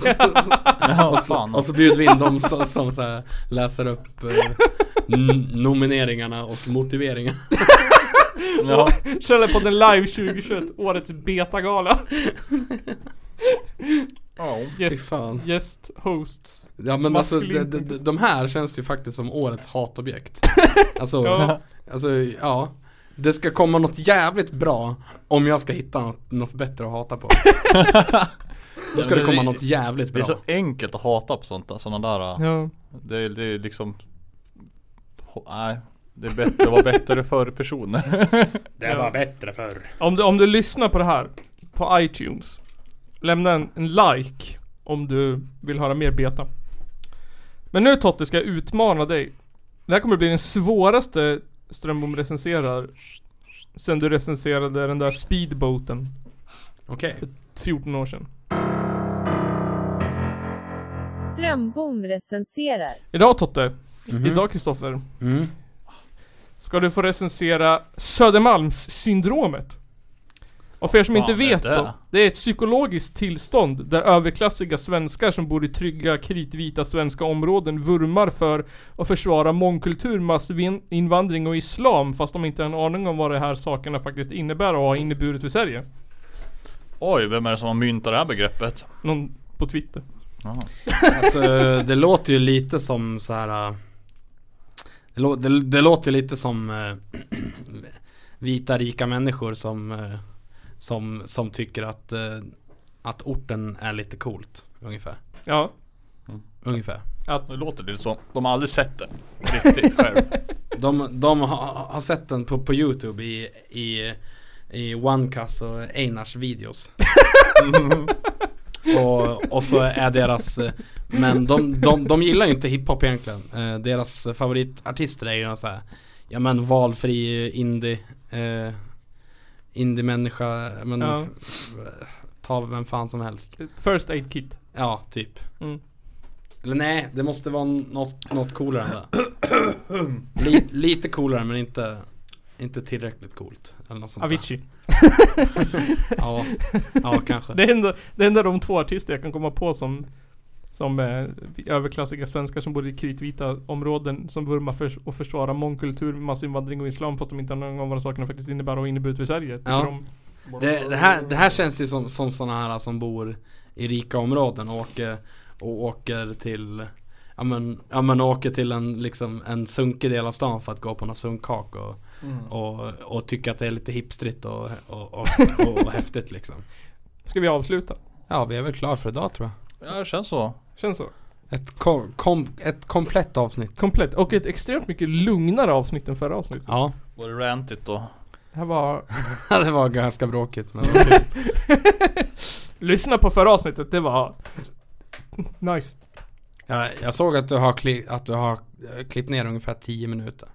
E: Ja,
D: och, så,
E: fan.
D: och så bjuder vi in dem som, som så här läser upp eh, n- nomineringarna och motiveringarna
E: Ja,
B: Källarpodden live 2021, årets betagala.
D: Fy
B: Yes,
D: fan.
B: guest hosts.
D: Ja men alltså de,
B: Maskulin-
D: de, de- de här känns ju faktiskt som årets hatobjekt Alltså,
B: Ja.
D: alltså ja Det ska komma något jävligt bra om jag ska hitta något, något bättre att hata på Då ska det komma något jävligt
E: Det
D: bra
E: är så enkelt att hata på sånt där, sådana där. eh,
B: Ja.
E: Det, är- det är liksom... ho- Nej. Det är bättre att vara bättre för personer.
B: Det var
D: bättre förr
B: Om du, om du lyssnar på det här på iTunes Lämna en, en like om du vill höra mer beta Men nu Totte ska jag utmana dig Det här kommer bli den svåraste Strömbom recenserar Sen du recenserade den där speedboaten
D: Okej
B: 14 år sedan
G: Strömbom recenserar.
B: Idag Totte
E: Mhm.
B: Idag Kristoffer
E: Mm.
B: Ska du få recensera Södermalmssyndromet och för er som
E: Fan
B: inte
E: är
B: vet
E: det?
B: då, det är ett psykologiskt tillstånd där överklassiga svenskar som bor i trygga kritvita svenska områden vurmar för och försvarar mångkultur, massinvandring och islam fast de inte har en aning om vad de här sakerna faktiskt innebär och har inneburit för Sverige.
E: Oj, vem är det som har myntat det här begreppet?
B: Någon på Twitter.
D: Alltså det låter ju lite som så här. äh, Det, lå- det, det låter ju lite som äh, vita rika människor som, äh, som, som tycker att, äh, att orten är lite coolt. Ungefär.
B: Ja.
D: Ungefär.
E: Det låter lite så. De har aldrig sett det. Riktigt själv.
D: De, de har, har sett den på, på Youtube i, i, i OneCast och Einars videos. och, och så är deras eh, Men de, de, de gillar ju inte hiphop egentligen Eh, Deras favoritartister är ju så här, Ja men valfri eh, indie eh, Indie-människa men
B: Ja.
D: Ta vem fan som helst
B: First Aid Kit.
D: Ja, typ
B: Mm.
D: Eller nej, det måste vara något, något coolare än det Li, Lite coolare men inte Inte tillräckligt coolt Eller något sånt där.
B: Avicii.
D: Ja, ja kanske
B: Det är, ändå, det är ändå de två artister jag kan komma på som som eh, vi- överklassiga svenskar som bor i kritvita områden som vurmar för och försvarar mångkultur, massinvandring och islam fast de inte har någon gång vad de sakerna faktiskt innebär och inneburit för Sverige. Tycker
D: Ja.
B: de,
D: Det, det, här, det här känns ju som, som sådana här som bor i rika områden och åker, och åker till Ja men, ja men åker till en, liksom, en sunkig del av stan för att gå på någon sunkkak och, och, och tycka att det är lite hipstrigt och, och, och, och, och häftigt liksom
B: ska vi avsluta?
D: Ja vi är väl klar för idag tror jag
E: Ja, det känns så.
B: Känns så.
D: Ett, kom, kom, ett komplett avsnitt
B: Komplett. Och ett extremt mycket lugnare avsnitt än förra avsnittet.
D: Ja
E: Var det rantigt då?
B: Det här var...
D: det var ganska bråkigt men
B: Lyssna på förra avsnittet, det var... Nice.
D: jag, jag såg att du har, kli, att du har eh, klippt ner ungefär 10 minuter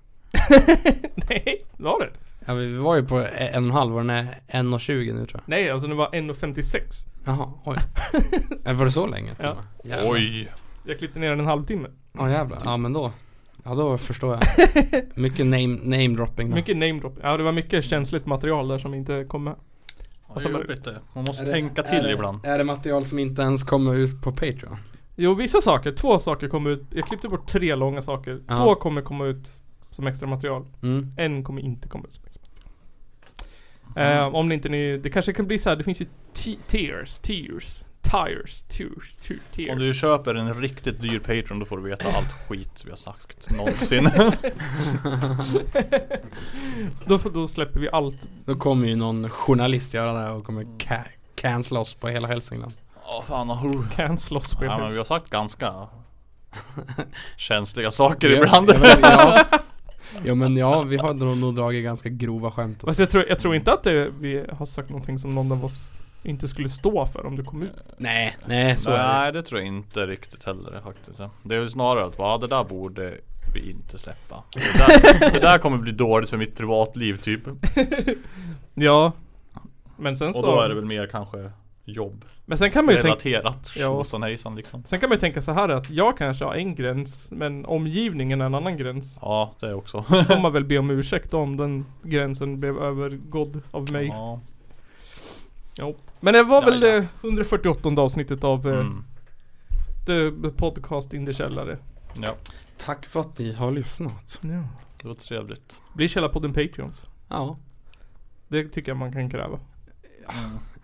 B: Nej, la det?
D: Ja vi var ju på e, en och en halv och den är 1.20 nu tror jag
B: Nej, alltså det var 1.56.
D: Jaha, oj. Äh, Var det så länge?
B: Ja.
D: Ja.
E: Oj.
B: Jag klippte ner den en halvtimme.
D: Typ. Ja jävlar. Ja men då. Ja då förstår jag. Mycket name, name dropping då.
B: Mycket name drop. Ja det var mycket känsligt material där som inte kom med.
E: Ja, det är jobbigt det. Man måste
D: Är det-
E: tänka
D: är
E: till
D: det,
E: ibland.
D: Är det material som inte ens kommer ut på Patreon?
B: Jo vissa saker, två saker kommer ut. Jag klippte bort tre långa saker.
D: Ja.
B: Två kommer komma ut som extra material.
D: Mm.
B: En kommer inte komma ut som extra material. Eh, om ni inte ni, det kanske kan bli så här. det finns ju ti- tiers, tiers, tires, tiers, tier-
E: Om du
B: tiers.
E: köper en riktigt dyr Patreon då får du veta allt skit vi har sagt någonsin.
B: Då, får- då släpper vi allt.
D: Då kommer ju någon journalist göra det här och kommer ca- cancella oss på hela Hälsingland.
E: Ja fan, oh.
B: Cancel oss
E: ja, men
B: ja,
E: vi har sagt ganska känsliga saker
D: Ja,
E: ibland.
D: ja, men, ja. Jo men ja, vi har nog, nog dragit ganska grova skämt. Alltså.
B: Fast jag tror, jag tror inte att det, vi har sagt någonting som någon av oss inte skulle stå för om det kom
E: Eh.
B: ut.
D: Nej, nej så är det.
E: Nej det tror jag inte riktigt heller faktiskt. Det är väl snarare att bara, det där borde vi inte släppa. Det där, det där kommer bli dåligt för mitt privatliv typ.
B: Ja. Men sen
E: Och
B: så...
E: då är det väl mer kanske jobb
B: Alltså. men sen kan man ju tänka...
E: relaterat.
B: Ja.
E: Tjosan hejsan liksom.
B: Sen kan man ju tänka så här att jag kanske har en gräns, men omgivningen är en annan gräns.
E: Ja det också.
B: Då får man väl be om ursäkt om den gränsen blev övergådd av mig.
E: Ja.
B: Men det var väl
E: Ja, ja.
B: det 148 avsnittet av eh,
E: Mm.
B: The Podcast in the Källare.
E: ja,
D: Tack för att ni har lyssnat.
B: Ja.
E: det var trevligt.
B: Bli Källarpodden Patreons.
D: Ja.
B: Det tycker jag man kan kräva.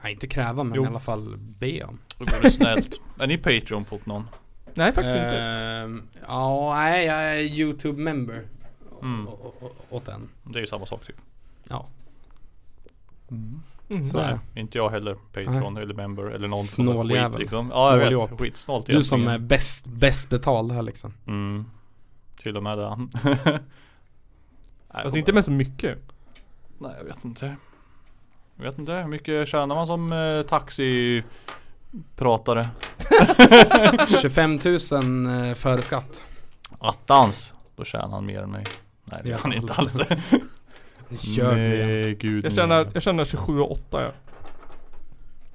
D: Nej, inte kräva men
B: Jo.
D: i alla fall be om.
E: Då går det snällt. Är ni Patreon på någon?
B: Nej faktiskt
E: Eh,
B: inte.
D: Ehm, Ja, nej jag är YouTube member.
E: Mm.
D: Å- å- å- Åt den.
E: Det är ju samma sak typ.
D: Ja.
B: Mm.
D: Så är det.
E: Inte jag heller. Patreon eller member eller någon sån där
D: Snåljävel.
E: skit liksom. Ja jag
D: Snåljåp.
E: vet. Skitsnålt
D: Du som är
E: egentligen.
D: bäst, bäst betald här liksom.
E: Mm. Till och med det. Nej,
B: Fast inte med så mycket.
E: Nej jag vet inte. Jag vet inte. Hur mycket tjänar man som eh, taxipratare?
D: 25 000 eh, före skatt.
E: Attans! Då tjänar han mer än mig. Nej det
D: Ja,
E: gör han inte alls.
D: alltså. Gör du igen.
E: Nej gud
B: Jag
E: nej.
B: tjänar, jag tjänar 27 och 8 ja.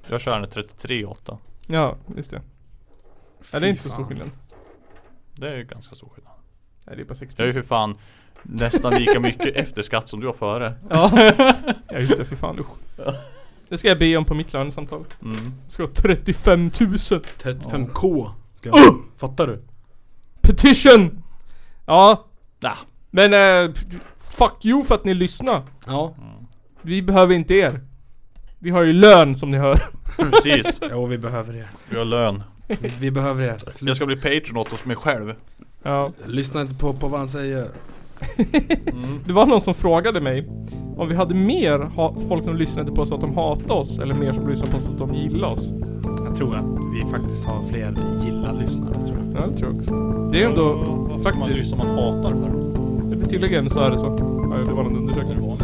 E: Jag tjänar 33,8.
B: Ja, just det. Ja, det är
D: Fy
B: inte så stor
D: fan.
B: skillnad.
E: Det är ju ganska stor skillnad.
B: Nej, det är bara 60.
E: Jag är ju för fan nästan lika mycket efter skatt som du har före.
B: Ja, ja just det, för fan usch. Det ska jag be om på mitt lönesamtal.
E: Mm.
B: Jag ska ha 35 000
D: 35k. Ska jag. Fattar du?
B: petition! Ja,
E: Nah.
B: men eh, fuck you för att ni lyssnar.
D: Ja.
B: Vi behöver inte er. Vi har ju lön som ni hör.
E: Precis,
D: Jo vi behöver er.
E: vi har lön.
D: Vi, vi behöver er. Slu-
E: Jag ska bli Patreon åt mig själv.
B: Ja.
D: Lyssna inte på, på vad han säger.
B: Det var någon som frågade mig om vi hade mer ha- folk som lyssnade på oss för att de hatade oss eller mer som lyssnade på oss för att de gillade oss.
D: Jag tror att vi faktiskt har fler gilla-lyssnare tror jag.
B: Ja, det tror jag också. Det är ju ändå,
E: Varför
B: faktiskt.
E: man lyssnar man hatar för.
B: tydligen så är det så. Ja, det var någon undersökning.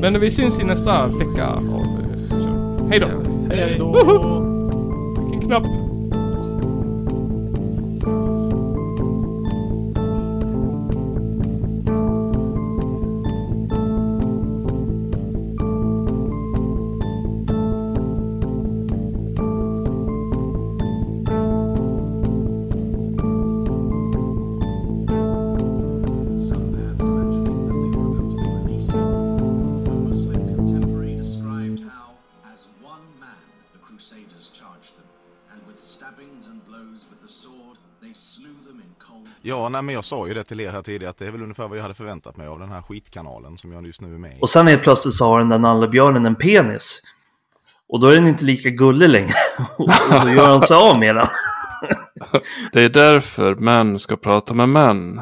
B: Men vi syns i nästa vecka av eh, Hej då!
E: Hej då!
B: Vilken knapp!
H: Some maps mentioning that they were about to be released. A Muslim contemporary described how, as one man, the Crusaders charged them, and with stabbings and blows with the sword, they slew them in cold.
I: Ja, nej, men jag sa ju det till er här tidigare att det är väl ungefär vad jag hade förväntat mig av den här skitkanalen som jag just nu är med i.
A: Och sen helt plötsligt så har den där nallebjörnen en penis. Och då är den inte lika gullig längre. Och då gör han sig av med den.
C: Det är därför män ska prata med män.